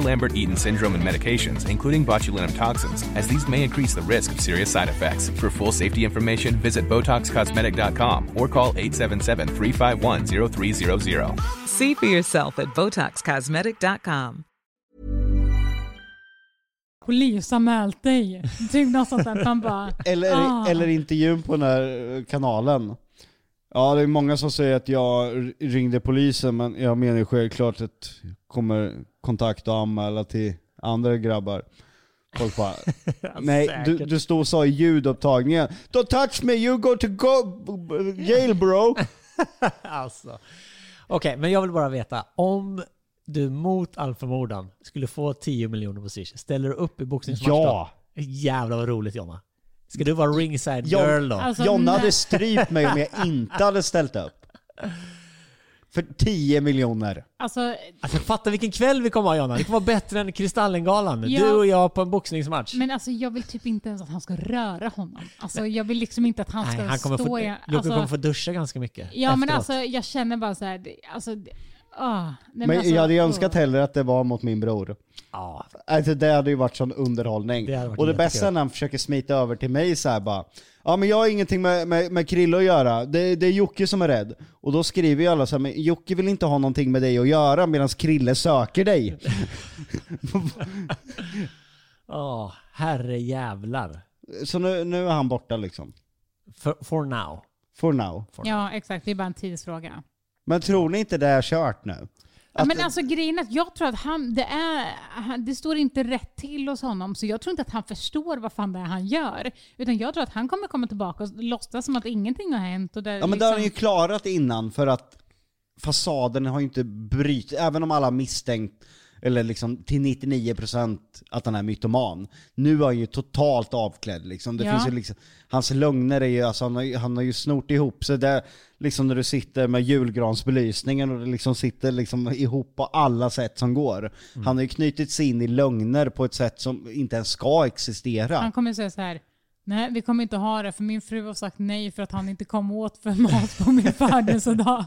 S8: Lambert-Eaton syndrome and medications, including botulinum toxins, as these may increase the risk of serious side effects. For full safety information, visit BotoxCosmetic.com or call 877-351-0300.
S7: See for yourself at BotoxCosmetic.com.
S3: polisanmält dig. Typ något sånt där. Man bara,
S5: eller,
S3: ah.
S5: eller intervjun på den här eh, kanalen. Ja, det är många som säger att jag r- ringde polisen, men jag menar ju självklart att jag kommer kontakta och anmäla till andra grabbar.
S3: (laughs)
S5: Folk bara, nej du,
S2: säkert.
S5: du stod och sa i ljudupptagningen, Don't touch me, you go to go jail bro.
S2: Alltså. Okej, men jag vill bara veta. Om du mot all förmodan skulle få 10 miljoner på Swish, ställer du upp i boxningsmatch
S5: Ja.
S2: då? Jävlar vad roligt Jonna. Ska du vara ringside
S5: Ja.
S2: girl då?
S3: Alltså,
S5: Jonna
S3: nej.
S5: hade strypt mig om jag inte hade ställt upp. För 10 miljoner.
S3: Alltså,
S2: Alltså fatta vilken kväll vi kommer ha Jonna. Det kommer vara bättre än Kristallengalan.
S3: Ja.
S2: Du och jag på en boxningsmatch.
S3: men alltså jag vill typ inte ens att han ska röra honom. Alltså jag vill liksom inte att han ska
S2: Nej, han kommer
S3: stå
S2: få,
S3: i...
S2: Luka
S3: Alltså,
S2: kommer få duscha ganska mycket
S3: Ja men
S2: efteråt.
S3: alltså jag känner bara så här, det- alltså, det- ah, nej,
S5: Men
S3: alltså,
S5: jag hade ju önskat
S3: åh.
S5: hellre att det var mot min bror.
S2: Ja,
S5: Alltså det hade ju varit sån underhållning.
S2: Det hade varit
S5: och det
S2: jättekul.
S5: bästa är när han försöker smita över till mig så här bara. Ja men jag har ingenting med, med, med Krille att göra, det, det är Jocke som är rädd. Och då skriver ju alla så här, men Jocke vill inte ha någonting med dig att göra medan Krille söker dig. (laughs)
S2: oh, herre jävlar.
S5: Så nu, nu är han borta liksom.
S2: For, for now.
S5: For now.
S3: Ja exakt, det är bara en tidsfråga.
S5: Men tror ni inte det är kört nu?
S3: Ja, men alltså grejen är att jag tror att han, det, är, han, det står inte rätt till hos honom, så jag tror inte att han förstår vad fan det är han gör. Utan jag tror att han kommer komma tillbaka och låtsas som att ingenting har hänt. Och liksom- det,
S5: Ja men det har han ju klarat innan för att fasaden har ju inte bryt, även om alla har misstänkt eller liksom till 99% att han är mytoman. Nu är han ju totalt avklädd liksom. Det
S3: Ja.
S5: finns ju liksom hans lögner är ju, alltså han har, ju- han har ju snort ihop sig där, liksom när du sitter med julgransbelysningen och det liksom sitter liksom ihop på alla sätt som går. Han har ju knutit sig in i lögner på ett sätt som inte ens ska existera.
S3: han kommer säga så här. Nej, vi kommer inte ha det för min fru har sagt nej för att han inte kom åt för mat på
S5: (laughs)
S3: min födelsedag.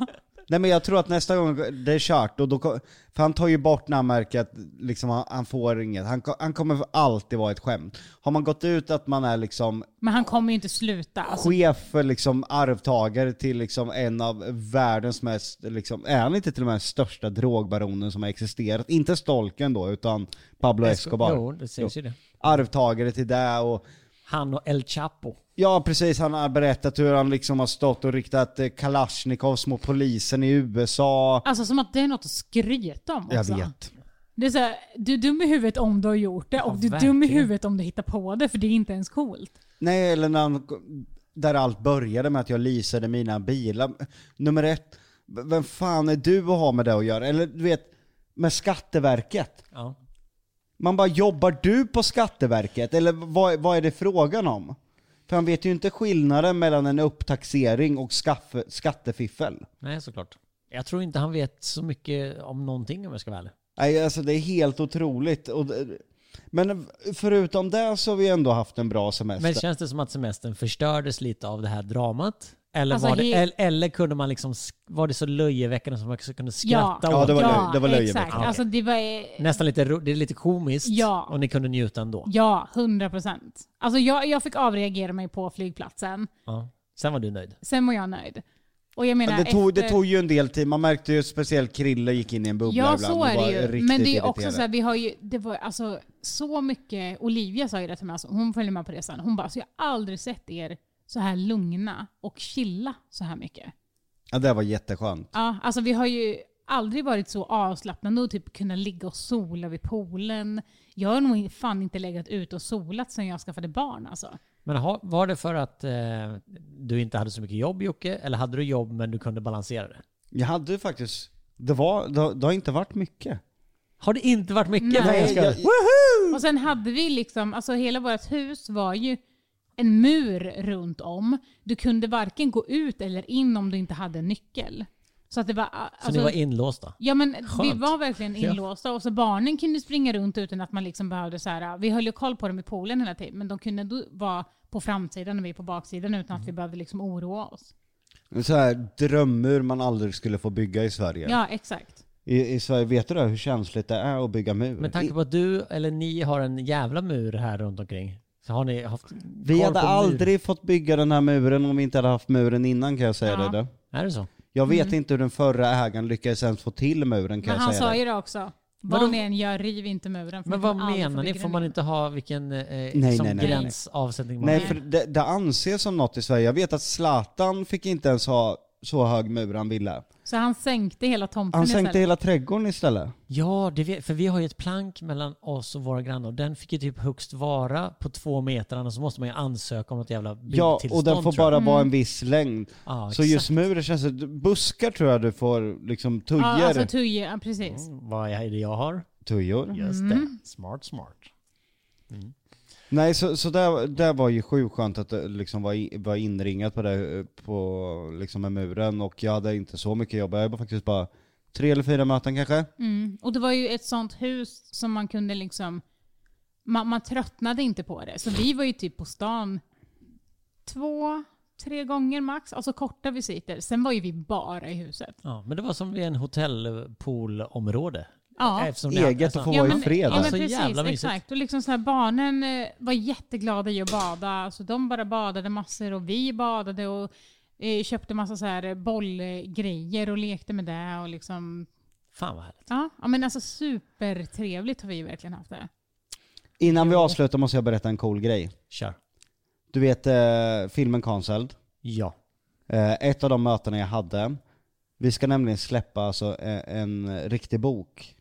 S5: Nej men jag tror att nästa gång det är kört, och då, ko- för han tar ju bort namnmärket, liksom, han, han får inget. Han, ko- han kommer alltid vara ett skämt. Har man gått ut att man är liksom
S3: Men han kommer ju inte sluta. Alltså,
S5: chef för liksom arvtagare till liksom en av världens mest, liksom, är han inte till och med den största drogbaronen som har existerat? Inte Stolken då, utan Pablo Escobar.
S2: Jo, det sägs ju det.
S5: Arvtagare till det och
S2: Han och El Chapo.
S5: Ja precis, han har berättat hur han liksom har stått och riktat eh, kalasjnikovs mot polisen i USA.
S3: alltså som att det är något att skryta om
S5: Jag
S2: Alltså.
S3: också.
S5: vet.
S3: Det är så här, du är dum i huvudet om du har gjort det och du är dum i
S2: verkligen.
S3: huvudet om du hittar på det för det är inte ens coolt.
S5: Nej, eller när han, där allt började med att jag leasade mina bilar. Nummer ett, v- vem fan är du att ha med det att göra? Eller du vet, med Skatteverket.
S2: Ja.
S5: Man bara, jobbar du på Skatteverket? Eller vad, vad är det frågan om? För han vet ju inte skillnaden mellan en upptaxering och skaffe, skattefiffel.
S2: Nej, såklart. Jag tror inte han vet så mycket om någonting om jag ska vara ärlig.
S5: Nej, alltså det är helt otroligt. Och det, Men förutom det så har vi ändå haft en bra semester.
S2: Men känns det som att semestern förstördes lite av det här dramat? Eller,
S3: Alltså,
S2: var det,
S3: he-
S2: el- eller kunde man liksom, sk- var det så löjeväckande som man också kunde skratta
S5: Ja,
S2: åt
S5: det var
S2: det?
S5: löj- det var löjeväckande.
S3: Exakt. Alltså det var... eh,
S2: Nästan lite, ro- det är lite komiskt
S3: Ja.
S2: och ni kunde njuta ändå.
S3: Ja, 100 procent. Alltså jag, jag fick avreagera mig på flygplatsen.
S2: Ja. Sen var du nöjd.
S3: Sen var jag nöjd. Och jag menar,
S5: Ja, det, tog, det
S3: efter-
S5: tog ju en del tid, man märkte ju speciellt Krille gick in i en bubbla
S3: Ja,
S5: ibland
S3: så
S5: och
S3: är
S5: var
S3: det ju.
S5: riktigt
S3: Men det är ju
S5: irriterad.
S3: också så här, vi har ju, det var alltså så mycket, Olivia sa ju det till mig, alltså, hon följer med på resan, hon bara, alltså, jag har aldrig sett er så här lugna och chilla så här mycket.
S5: Ja, det var jätteskönt.
S3: Ja, alltså vi har ju aldrig varit så avslappnade och typ kunnat ligga och sola vid poolen. Jag har nog fan inte legat ute och solat sedan jag skaffade barn alltså.
S2: Men ha, var det för att eh, du inte hade så mycket jobb Jocke? Eller hade du jobb men du kunde balansera det?
S5: Jag hade ju faktiskt, det, var, det, har- det har inte varit mycket.
S2: Har det inte varit mycket?
S3: Nej,
S2: Nej, jag
S5: jag,
S2: ska...
S3: Och sen hade vi liksom, alltså hela vårt hus var ju en mur runt om. Du kunde varken gå ut eller in om du inte hade en nyckel. Så att det var... alltså-
S2: Så ni var inlåsta?
S3: Ja men vi
S2: Skönt.
S3: var verkligen
S2: Ja.
S3: inlåsta och så barnen kunde springa runt utan att man liksom behövde så här. Vi höll ju koll på dem i poolen hela tiden men de kunde då vara på framsidan och vi på baksidan utan
S2: Mm.
S3: att vi behövde liksom oroa oss.
S5: En sån här drömmur man aldrig skulle få bygga i Sverige.
S3: Ja exakt.
S5: I, I Sverige, vet du det, hur känsligt det är att bygga mur?
S2: Med tanke på att du eller ni har en jävla mur här runt omkring. Så har ni haft
S5: vi
S2: koll
S5: hade
S2: på mur?
S5: aldrig fått bygga den här muren om vi inte hade haft muren innan kan jag säga
S3: Ja. Mm.
S5: dig det.
S2: Är det så?
S5: Jag vet inte hur den förra ägaren lyckades ens få till muren kan
S3: Men han
S5: jag säga
S3: sa
S5: dig.
S3: ju det också. Vad
S2: Vadå?
S3: ni än gör, riv inte muren. för
S2: Men
S3: ni
S2: vad
S3: kommer aldrig få
S2: menar ni?
S3: bygga
S2: Får
S3: den
S2: man
S3: igen.
S2: inte ha vilken eh,
S5: nej,
S2: som
S5: nej, nej.
S2: gräns avsättning man
S5: Nej
S2: har?
S5: för det, det anses som något i Sverige. Jag vet att Zlatan fick inte ens ha så hög mur han ville.
S3: Så han sänkte hela tomten
S5: Han sänkte
S3: istället.
S5: hela trädgården istället.
S2: Ja, det vet, för vi har ju ett plank mellan oss och våra grannar. och Den fick ju typ högst vara på två meter, annars så måste man ju ansöka om något jävla
S5: Ja,
S2: byggtillstånd
S5: och den får
S2: tror jag.
S5: bara vara en viss längd.
S2: Ja,
S5: så just muren känns det, buskar tror jag du får liksom tujor.
S3: Ja, alltså tujor, ja, precis.
S2: Vad är det jag har?
S5: tujor?
S2: Just det. Smart, smart.
S5: Nej, så, så där, där var ju sjukt skönt att det liksom var, i, var inringat på det, eh, på liksom med muren och jag hade inte så mycket jobb. Jag var faktiskt bara tre eller fyra möten kanske.
S3: Mm. Och det var ju ett sånt hus som man kunde liksom, man, man tröttnade inte på det. Så vi var ju typ på stan två, tre gånger max, alltså korta visiter. Sen var ju vi bara i huset.
S2: Ja, men det var som vid en hotellpoolområde.
S3: Ja.
S2: Eftersom ni hade-
S5: Eget och få
S3: Ja,
S5: vara
S3: men-
S5: i fred.
S3: Ja, men
S2: Alltså,
S3: precis,
S2: jävla mysigt.
S3: exakt. Och liksom så här, barnen eh, var jätteglada i att bada, så de bara badade massor och vi badade och eh, köpte massa så här eh, bollgrejer och lekte med det och liksom,
S2: Fan vad härligt.
S3: ja, ja men alltså supertrevligt har vi ju verkligen haft det.
S5: Innan vi avslutar måste jag berätta en cool grej.
S2: Kör.
S5: Du vet eh, filmen Cancelled.
S2: Ja.
S5: Eh, ett av de mötena jag hade, vi ska nämligen släppa alltså eh, en riktig bok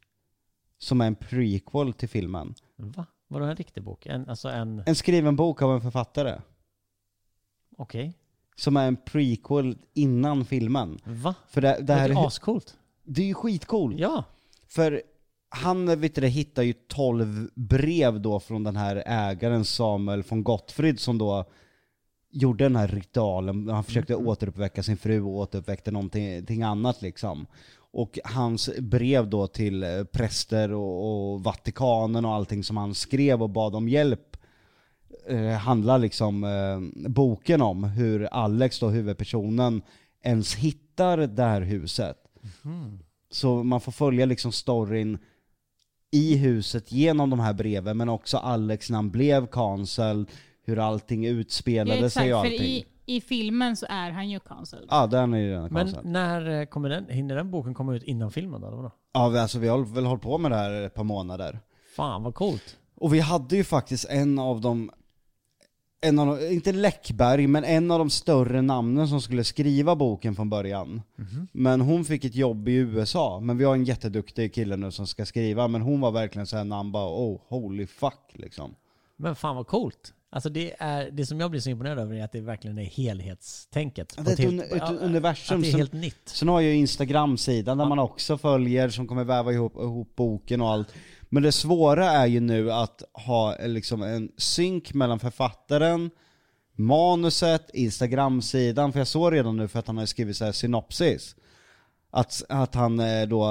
S5: som är en prequel till filmen.
S2: Va? Var det en riktig bok? En, alltså en...
S5: En skriven bok av en författare
S2: Okej.
S5: som är en prequel innan filmen.
S2: Va?
S5: För det, det
S2: Det
S5: här
S2: här är
S5: är,
S2: ascoolt.
S5: det är ju skitcoolt.
S2: Ja.
S5: För han vet du, det, hittar ju 12 brev då från den här ägaren Samuel von Gottfried som då gjorde den här ritualen. Han försökte
S2: Mm.
S5: återuppväcka sin fru och återuppväckte någonting någonting annat liksom. Och hans brev då till eh, präster och, och Vatikanen och allting som han skrev och bad om hjälp eh, handlar liksom eh, boken om hur Alex då, huvudpersonen, ens hittar det här huset. Så man får följa liksom storyn i huset genom de här breven, men också Alex när han blev cancelled, hur allting utspelade sig och
S3: för
S5: allting.
S3: i, i filmen så är han ju cancelled.
S5: Ja, den är ju redan
S2: Men
S5: cancelled.
S2: när eh, kommer den, hinner den boken komma ut innan filmen då? Eller vadå?
S5: Ja, vi- alltså vi har väl hållit på med det här ett par månader.
S2: Fan vad coolt.
S5: Och vi hade ju faktiskt en av de, en av de inte Läckberg, men en av de större namnen som skulle skriva boken från början. Men hon fick ett jobb i USA, men vi har en jätteduktig kille nu som ska skriva, men hon var verkligen såhär när han bara oh, holy fuck liksom.
S2: Men fan vad coolt. Alltså det, är, det som jag blir så imponerad över är att det verkligen är helhetstänket.
S5: Ja,
S2: På
S5: det är ett
S2: helt-
S5: un- ett
S2: ja,
S5: universum
S2: Att det är
S5: som-
S2: helt nytt.
S5: Sen har jag ju Instagram-sidan där man också följer som kommer väva ihop, ihop boken och allt. Men det svåra är ju nu att ha eh, liksom en synk mellan författaren, manuset, Instagram-sidan. För jag såg redan nu för att han har skrivit så här synopsis. Att, att han eh, då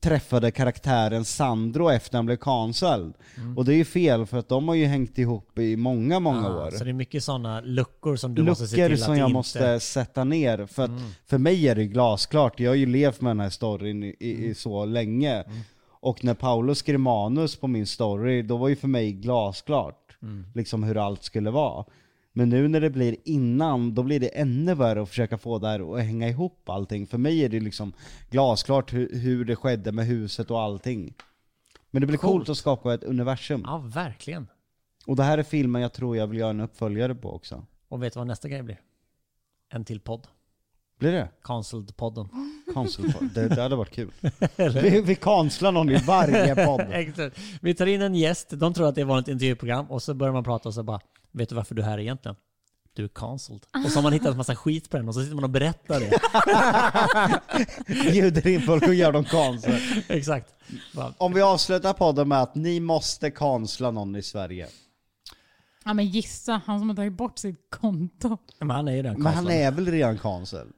S5: träffade karaktären Sandro efter han blev cancelled.
S2: Mm.
S5: Och det är ju fel för att de har ju hängt ihop i många, många
S2: Ah,
S5: år.
S2: Så det är mycket sådana luckor som du måste se
S5: Luckor
S2: till att
S5: som
S2: det
S5: jag
S2: inte... Mm.
S5: måste sätta ner. För att för mig är det glasklart, jag har ju levt med den här storyn i, i,
S2: Mm.
S5: i så länge. Och när Paolo skrev manus på min story, då var ju för mig glasklart
S2: Mm.
S5: liksom hur allt skulle vara. Men nu när det blir innan, då blir det ännu värre att försöka få det här att hänga ihop allting. För mig är det liksom glasklart hur, hur det skedde med huset och allting. Men det blir coolt,
S2: Coolt.
S5: att skapa ett universum.
S2: Ja, verkligen.
S5: Och det här är filmen jag tror jag vill göra en uppföljare på också.
S2: Och vet du vad nästa grej blir? En till podd.
S5: Blir det?
S2: Cancelled-podden.
S5: Cancel pod. Det, det hade
S2: (laughs)
S5: varit kul. vi, vi cancelar någon i varje podd.
S2: Exakt. Vi tar in en gäst, de tror att det är ett vanligt intervjuprogram och så börjar man prata och så bara Vet du varför du är här egentligen? Du är cancelled. Och så har man hittat en massa skit på den och så sitter man och berättar (laughs) det.
S5: Bjuder in folk och gör dem cancel.
S2: Exakt. Bara,
S5: Om vi avslutar podden med att ni måste cancella någon i Sverige.
S3: Ja men gissa, han som har tagit bort sitt konto.
S2: Men han är ju den
S5: Men han
S2: cancelled.
S5: är väl redan cancel?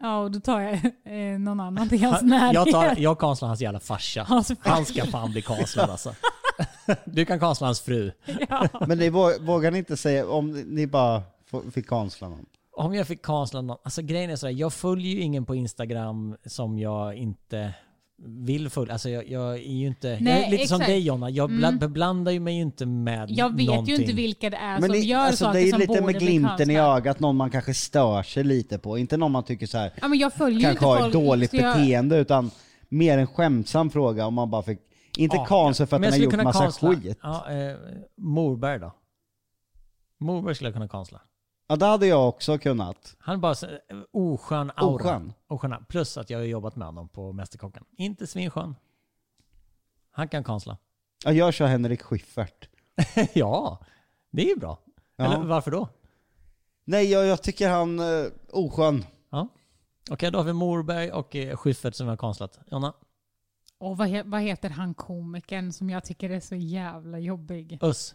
S3: Ja och då tar jag eh, någon annan i hans närhet.
S2: jag,
S3: (laughs)
S2: tar, jag cancelar hans jävla farsa.
S3: Hans farsa.
S2: Han ska fan bli cancelled
S3: (laughs)
S2: alltså. Du kan cancella hans fru.
S5: Men ni vå- vågar ni inte säga om ni bara f- fick cancella någon?
S2: Om jag fick cancella någon, alltså grejen är sådär, jag följer ju ingen på Instagram som jag inte vill följa. Alltså jag, jag är ju inte, jag är
S3: Nej,
S2: lite som
S3: exakt. Mm.
S2: dig Jonna, jag bland, beblandar ju mig ju inte med
S3: Jag vet
S2: någonting.
S3: ju inte vilka det är
S5: Men
S3: som
S5: ni,
S3: gör
S5: alltså,
S3: saker
S5: det är ju
S3: som
S5: lite
S3: borde
S5: med
S3: bli
S5: glimten i
S3: cancellade.
S5: ögat, någon man kanske stör sig lite på. Inte någon man tycker så här
S3: Ja men jag följer ju inte
S5: kanske har
S3: folk.
S5: ett dåligt
S3: så jag-
S5: beteende, utan mer en skämtsam fråga om man bara fick, inte
S2: Ja,
S5: cancel för att
S2: Men jag
S5: den har
S2: skulle kunna
S5: gjort massa
S2: cancella.
S5: skit.
S2: Ja, eh, Morberg då? Morberg skulle jag kunna cancella.
S5: Ja det hade jag också kunnat.
S2: Han är bara så, eh, oskön aura.
S5: Oskön.
S2: Oskön. Plus att jag har jobbat med honom på Mästerkocken. Inte svinskön. Han kan cancella.
S5: Ja, jag kör Henrik Schiffert.
S2: (laughs) ja, det är ju bra.
S5: Ja.
S2: Eller varför då?
S5: Nej jag, jag tycker han eh, oskön.
S2: Ja. Okej, då har vi Morberg och eh, Schyffert som vi har konstlat. Jonna?
S3: Och vad, he- vad heter han komikern som jag tycker är så jävla jobbig?
S2: Us.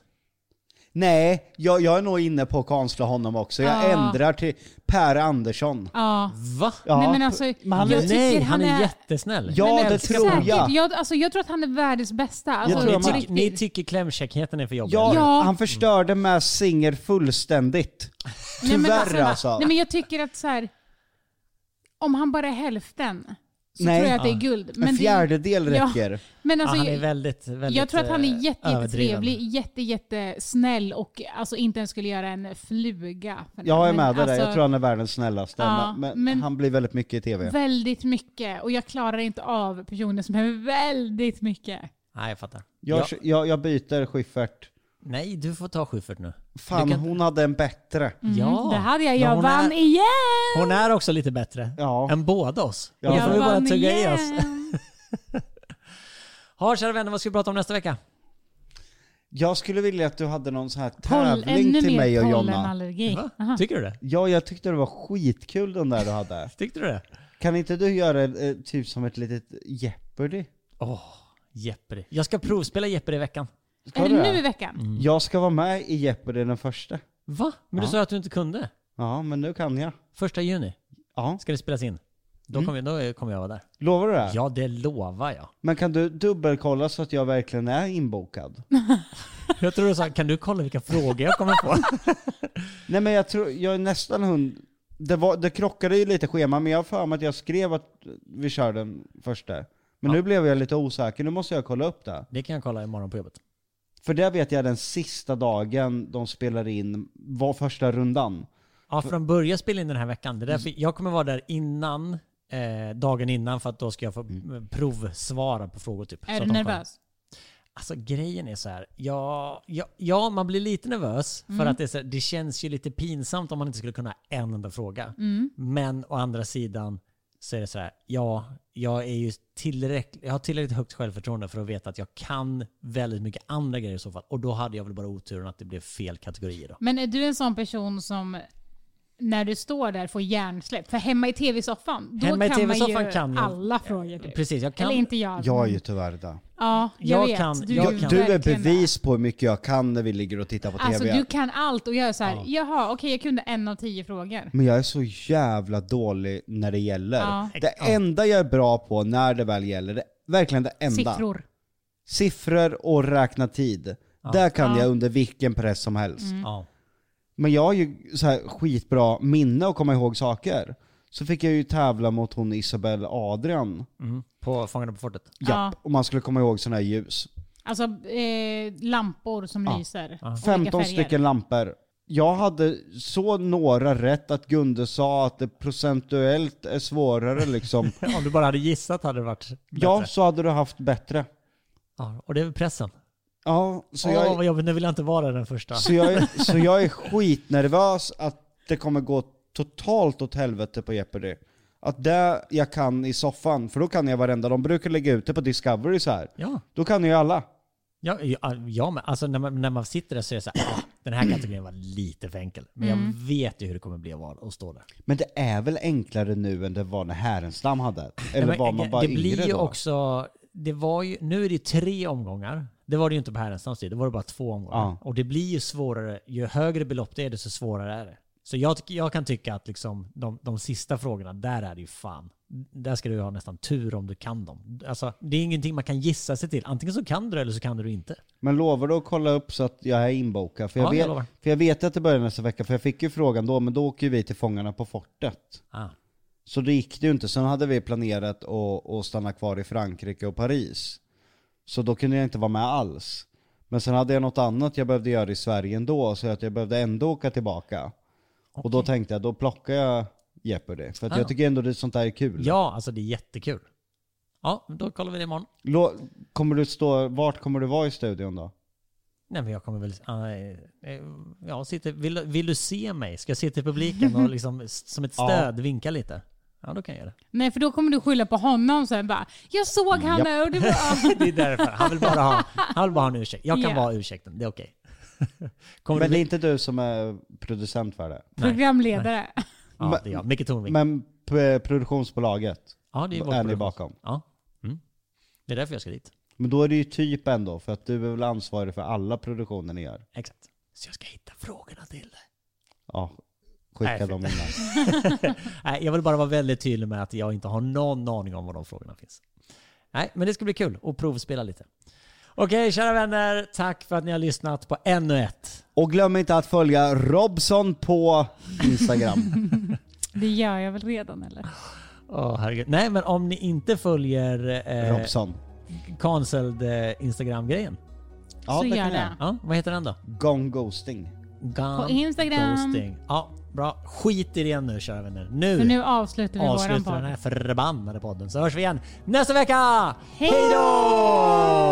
S5: Nej, jag, jag är nog inne på att cancella honom också. Jag
S3: Ja.
S5: ändrar till Per Andersson.
S3: Ja.
S2: Va?
S5: Ja,
S3: Nej men alltså,
S5: men han
S3: jag
S5: är-
S3: tycker
S2: Nej,
S3: han, är...
S2: jättesnäll.
S5: Ja,
S3: Nej, men
S5: det tror
S3: säkert.
S5: jag.
S3: jag. Alltså, jag tror att han är världens bästa. Alltså,
S5: tror jag
S3: på
S5: med.
S2: Tyck, ni
S3: riktigt.
S2: tycker klämkäckheten är för jobbig?
S5: Ja,
S3: Ja.
S5: Han förstörde med Singer fullständigt.
S3: Nej, men
S5: Tyvärr alltså.
S3: Nej men jag tycker att så här, om han bara är hälften så
S5: Nej.
S3: tror jag att det är guld. Men
S5: En
S3: det-
S5: fjärdedel
S3: Ja.
S5: räcker.
S3: Men alltså,
S2: ja, han är
S3: jag-
S2: väldigt, väldigt
S3: jag tror att han
S2: eh,
S3: är jätte,
S2: överdriven.
S3: jättetrevlig, jätte, jättesnäll och alltså, inte ens skulle göra en fluga. för
S5: Jag är
S3: den. Men
S5: med dig där.
S3: alltså,
S5: jag tror han är världens snällaste.
S3: Ja,
S5: men, men
S3: men-
S5: han blir väldigt mycket i tv.
S3: Väldigt mycket och jag klarar inte av personer som är väldigt mycket.
S2: Nej, jag fattar.
S5: Jag,
S2: Ja.
S5: jag, jag byter Schiffert.
S2: Nej, du får ta Schyffert nu.
S5: Fan
S2: Du kan-
S5: hon hade en bättre.
S2: Ja.
S3: Mm, Det hade jag,
S2: Men
S3: jag
S2: hon
S3: vann
S2: är-
S3: igen!
S2: Hon är också lite bättre
S5: Ja.
S2: än båda oss.
S5: Ja.
S2: Ja.
S5: Jag
S2: får vi bara
S3: vann
S2: tugga i
S3: igen.
S2: oss. Ha, kära vänner, vad ska vi prata om nästa vecka?
S5: Jag skulle vilja att du hade någon sån här
S3: Poll,
S5: tävling
S3: ännu
S5: till mig
S3: mer
S5: och Jonna.
S3: pollenallergi.
S2: Va?
S3: Aha.
S2: Tycker du det?
S5: Ja, jag tyckte det var skitkul den där du hade.
S2: Tyckte du det?
S5: Kan inte du göra eh, typ som ett litet Jeopardy?
S2: Åh, Jeopardy. Jag ska provspela Jeopardy i veckan.
S5: Ska
S3: Är
S5: du
S3: det nu i veckan?
S2: Mm,
S5: Jag ska vara med i Jeopardy den första.
S2: Va? Men du sa att du inte kunde.
S5: Ja, men nu kan jag.
S2: Första juni
S5: Ja.
S2: ska det spelas in. Då
S3: Mm.
S2: kommer jag, då kommer jag vara där.
S5: Lovar du det?
S2: Ja, det lovar jag.
S5: Men kan du dubbelkolla så att jag verkligen är (laughs) inbokad?
S2: Jag tror du sa, kan du kolla vilka frågor jag kommer
S3: (laughs)
S2: få?
S5: Nej men jag tror, jag är nästan hund... Det, var, det krockade ju lite schema, men jag har för mig att jag skrev att vi kör den första. Men nu blev jag lite osäker, nu måste jag kolla upp det.
S2: Det kan jag kolla imorgon på jobbet.
S5: För det vet jag den sista dagen de spelar in var första rundan.
S2: Ja, för de börjar spela in den här veckan. Det är därför jag kommer vara där innan, eh, dagen innan, för att då ska jag få eh, provsvara på frågor typ. Så
S3: Är
S2: att de
S3: du
S2: får-
S3: nervös?
S2: Alltså grejen är så här. Ja, ja, ja man blir lite nervös
S3: Mm.
S2: för att det, är så här, det känns ju lite pinsamt om man inte skulle kunna en enda fråga.
S3: Mm.
S2: Men å andra sidan så är det så här. Ja, jag, är ju tillräckligt, jag har tillräckligt högt självförtroende för att veta att jag kan väldigt mycket andra grejer i så fall. Och då hade jag väl bara oturen att det blev fel kategorier då.
S3: Men är du en sån person som när du står där får hjärnsläpp? För hemma i tv-soffan, då
S2: Hemma i
S3: kan man
S2: TV-soffan
S3: ju
S2: kan jag.
S3: alla frågor. typ.
S2: Precis, jag kan...
S3: Eller inte jag.
S5: Jag är ju tyvärr där.
S3: Ja, jag,
S2: Jag
S3: vet.
S2: kan-
S3: du,
S2: jag
S5: Jag,
S2: kan.
S5: du är
S3: verkligen
S5: bevis på hur mycket jag kan när vi ligger och tittar på
S3: Alltså
S5: TV.
S3: du kan allt och jag är så här, jaha okej jag kunde en av tio frågor.
S5: Men jag är så jävla dålig när det gäller.
S3: Ja.
S5: Det enda jag är bra på när det väl gäller, det verkligen det enda.
S3: Siffror.
S5: Siffror och räkna tid. Där kan
S3: Ja. Mm.
S5: jag under vilken press som helst.
S2: Ja.
S5: Men jag har ju så här skitbra minne och komma ihåg saker. Så fick jag ju tävla mot hon Isabel Adrian.
S2: Mm. På Fångarna på fortet?
S5: Japp, och man skulle komma ihåg sådana här ljus.
S3: Alltså eh, lampor som lyser. Olika
S5: 15
S3: färger.
S5: stycken lampor. Jag hade så några rätt att Gunde sa att det procentuellt är
S2: (laughs)
S5: svårare liksom.
S2: Om du bara hade gissat hade det varit bättre.
S5: ja, så hade du haft bättre.
S2: Ja, Och det är väl pressen?
S5: Ja, så
S2: Åh,
S5: jag...
S2: vad jobbigt. Nu vill jag inte vara den första.
S5: Så
S2: (laughs)
S5: jag, är- så jag är skitnervös att det kommer gå totalt åt helvete på Jeopardy. Att det jag kan i soffan, för då kan jag varenda. De brukar lägga ut det på Discovery så här.
S2: Ja,
S5: Då kan jag ju alla.
S2: ja, ja, ja men alltså när man, när man sitter där så är det så här, ah, den här kategorin var lite för enkel. Men jag
S5: Mm.
S2: vet ju hur det kommer bli att vara- att stå där.
S5: Men det är väl enklare nu än det var när Härenstam hade? Eller
S2: Nej, men
S5: var man bara
S2: Det
S5: yngre
S2: blir ju
S5: då?
S2: också, det var ju, nu är det tre omgångar. Det var det ju inte på herrens tid, det var det bara två omgångar.
S5: Ja.
S2: Och det blir ju svårare, ju högre belopp det är desto svårare är det. Så jag, tycker- jag kan tycka att liksom de, de sista frågorna, där är det ju fan. Där ska du ha nästan tur om du kan dem. Alltså, det är ingenting man kan gissa sig till. Antingen så kan du det eller så kan du det inte.
S5: Men lovar du att kolla upp så att jag är inbokad? För jag,
S2: Ja, jag
S5: vet,
S2: lovar.
S5: för jag vet att det börjar nästa vecka, för jag fick ju frågan då, men då åker ju vi till Fångarna på fortet.
S2: Ah.
S5: Så det gick det ju inte. Sen hade vi planerat att, att stanna kvar i Frankrike och Paris. Så då kunde jag inte vara med alls. Men sen hade jag något annat jag behövde göra i Sverige ändå, så att jag behövde ändå åka tillbaka. Och då tänkte jag, då plockar jag Jeopardy. För att
S2: Ah.
S5: jag tycker ändå det sånt där är kul.
S2: Ja, alltså det är jättekul. Ja, då kollar vi det imorgon.
S5: Lå- Kommer du stå, vart kommer du vara i studion då?
S2: Nej men jag kommer väl... ah, eh, eh, Ja, sitter, vill, vill du se mig? Ska jag sitta i publiken och (laughs) liksom s- som ett
S5: Ja.
S2: stöd vinka lite? Ja, då kan jag göra det.
S3: Nej, för då kommer du skylla på honom sen bara. Jag såg han
S5: Japp.
S3: där och det
S5: (laughs)
S3: var... alltså
S2: Det är därför. Han vill bara ha, han vill bara ha en ursäkt. Jag kan
S3: Ja.
S2: vara ursäkten, det är okej. (laughs) Kommer du
S5: Men det är
S2: bli...
S5: inte du som är producent för det?
S3: Programledare.
S2: Ja, det är jag. Micke Tornving.
S5: Men p- eh, produktionsbolaget
S2: Ja, det är, vår
S5: är ni
S2: produktion.
S5: bakom?
S2: Ja. Mm. Det är därför jag ska dit.
S5: Men då är det ju typ ändå, för att du är väl ansvarig för alla produktioner ni gör?
S2: Exakt. Så jag ska hitta frågorna till dig.
S5: Ja,
S2: Nej, för-
S5: skicka dem innan.
S2: Nej, jag vill bara vara väldigt tydlig med att jag inte har någon aning om var de frågorna finns. Nej, men det ska bli kul att provspela lite. Okej, kära vänner. Tack för att ni har lyssnat på ännu ett.
S5: Och glöm inte att följa Robson på Instagram.
S3: Det gör jag väl redan eller?
S2: Åh, herregud. Nej, men om ni inte följer (laughs) eh,
S5: Robson.
S2: cancelled eh, Instagram-grejen.
S5: Ja,
S3: så
S5: det
S3: gör
S5: kan
S3: det.
S5: jag.
S2: Ja, vad heter den då?
S5: Gone ghosting.
S2: Gun
S3: På Instagram.
S2: Ghosting. Ja, bra. Skit i det nu, kära vänner. Nu,
S3: Men nu avslutar vi
S2: avslutar
S3: våran
S2: vi den
S3: podd.
S2: här förbannade podden. Så hörs vi igen nästa vecka!
S3: Hej då!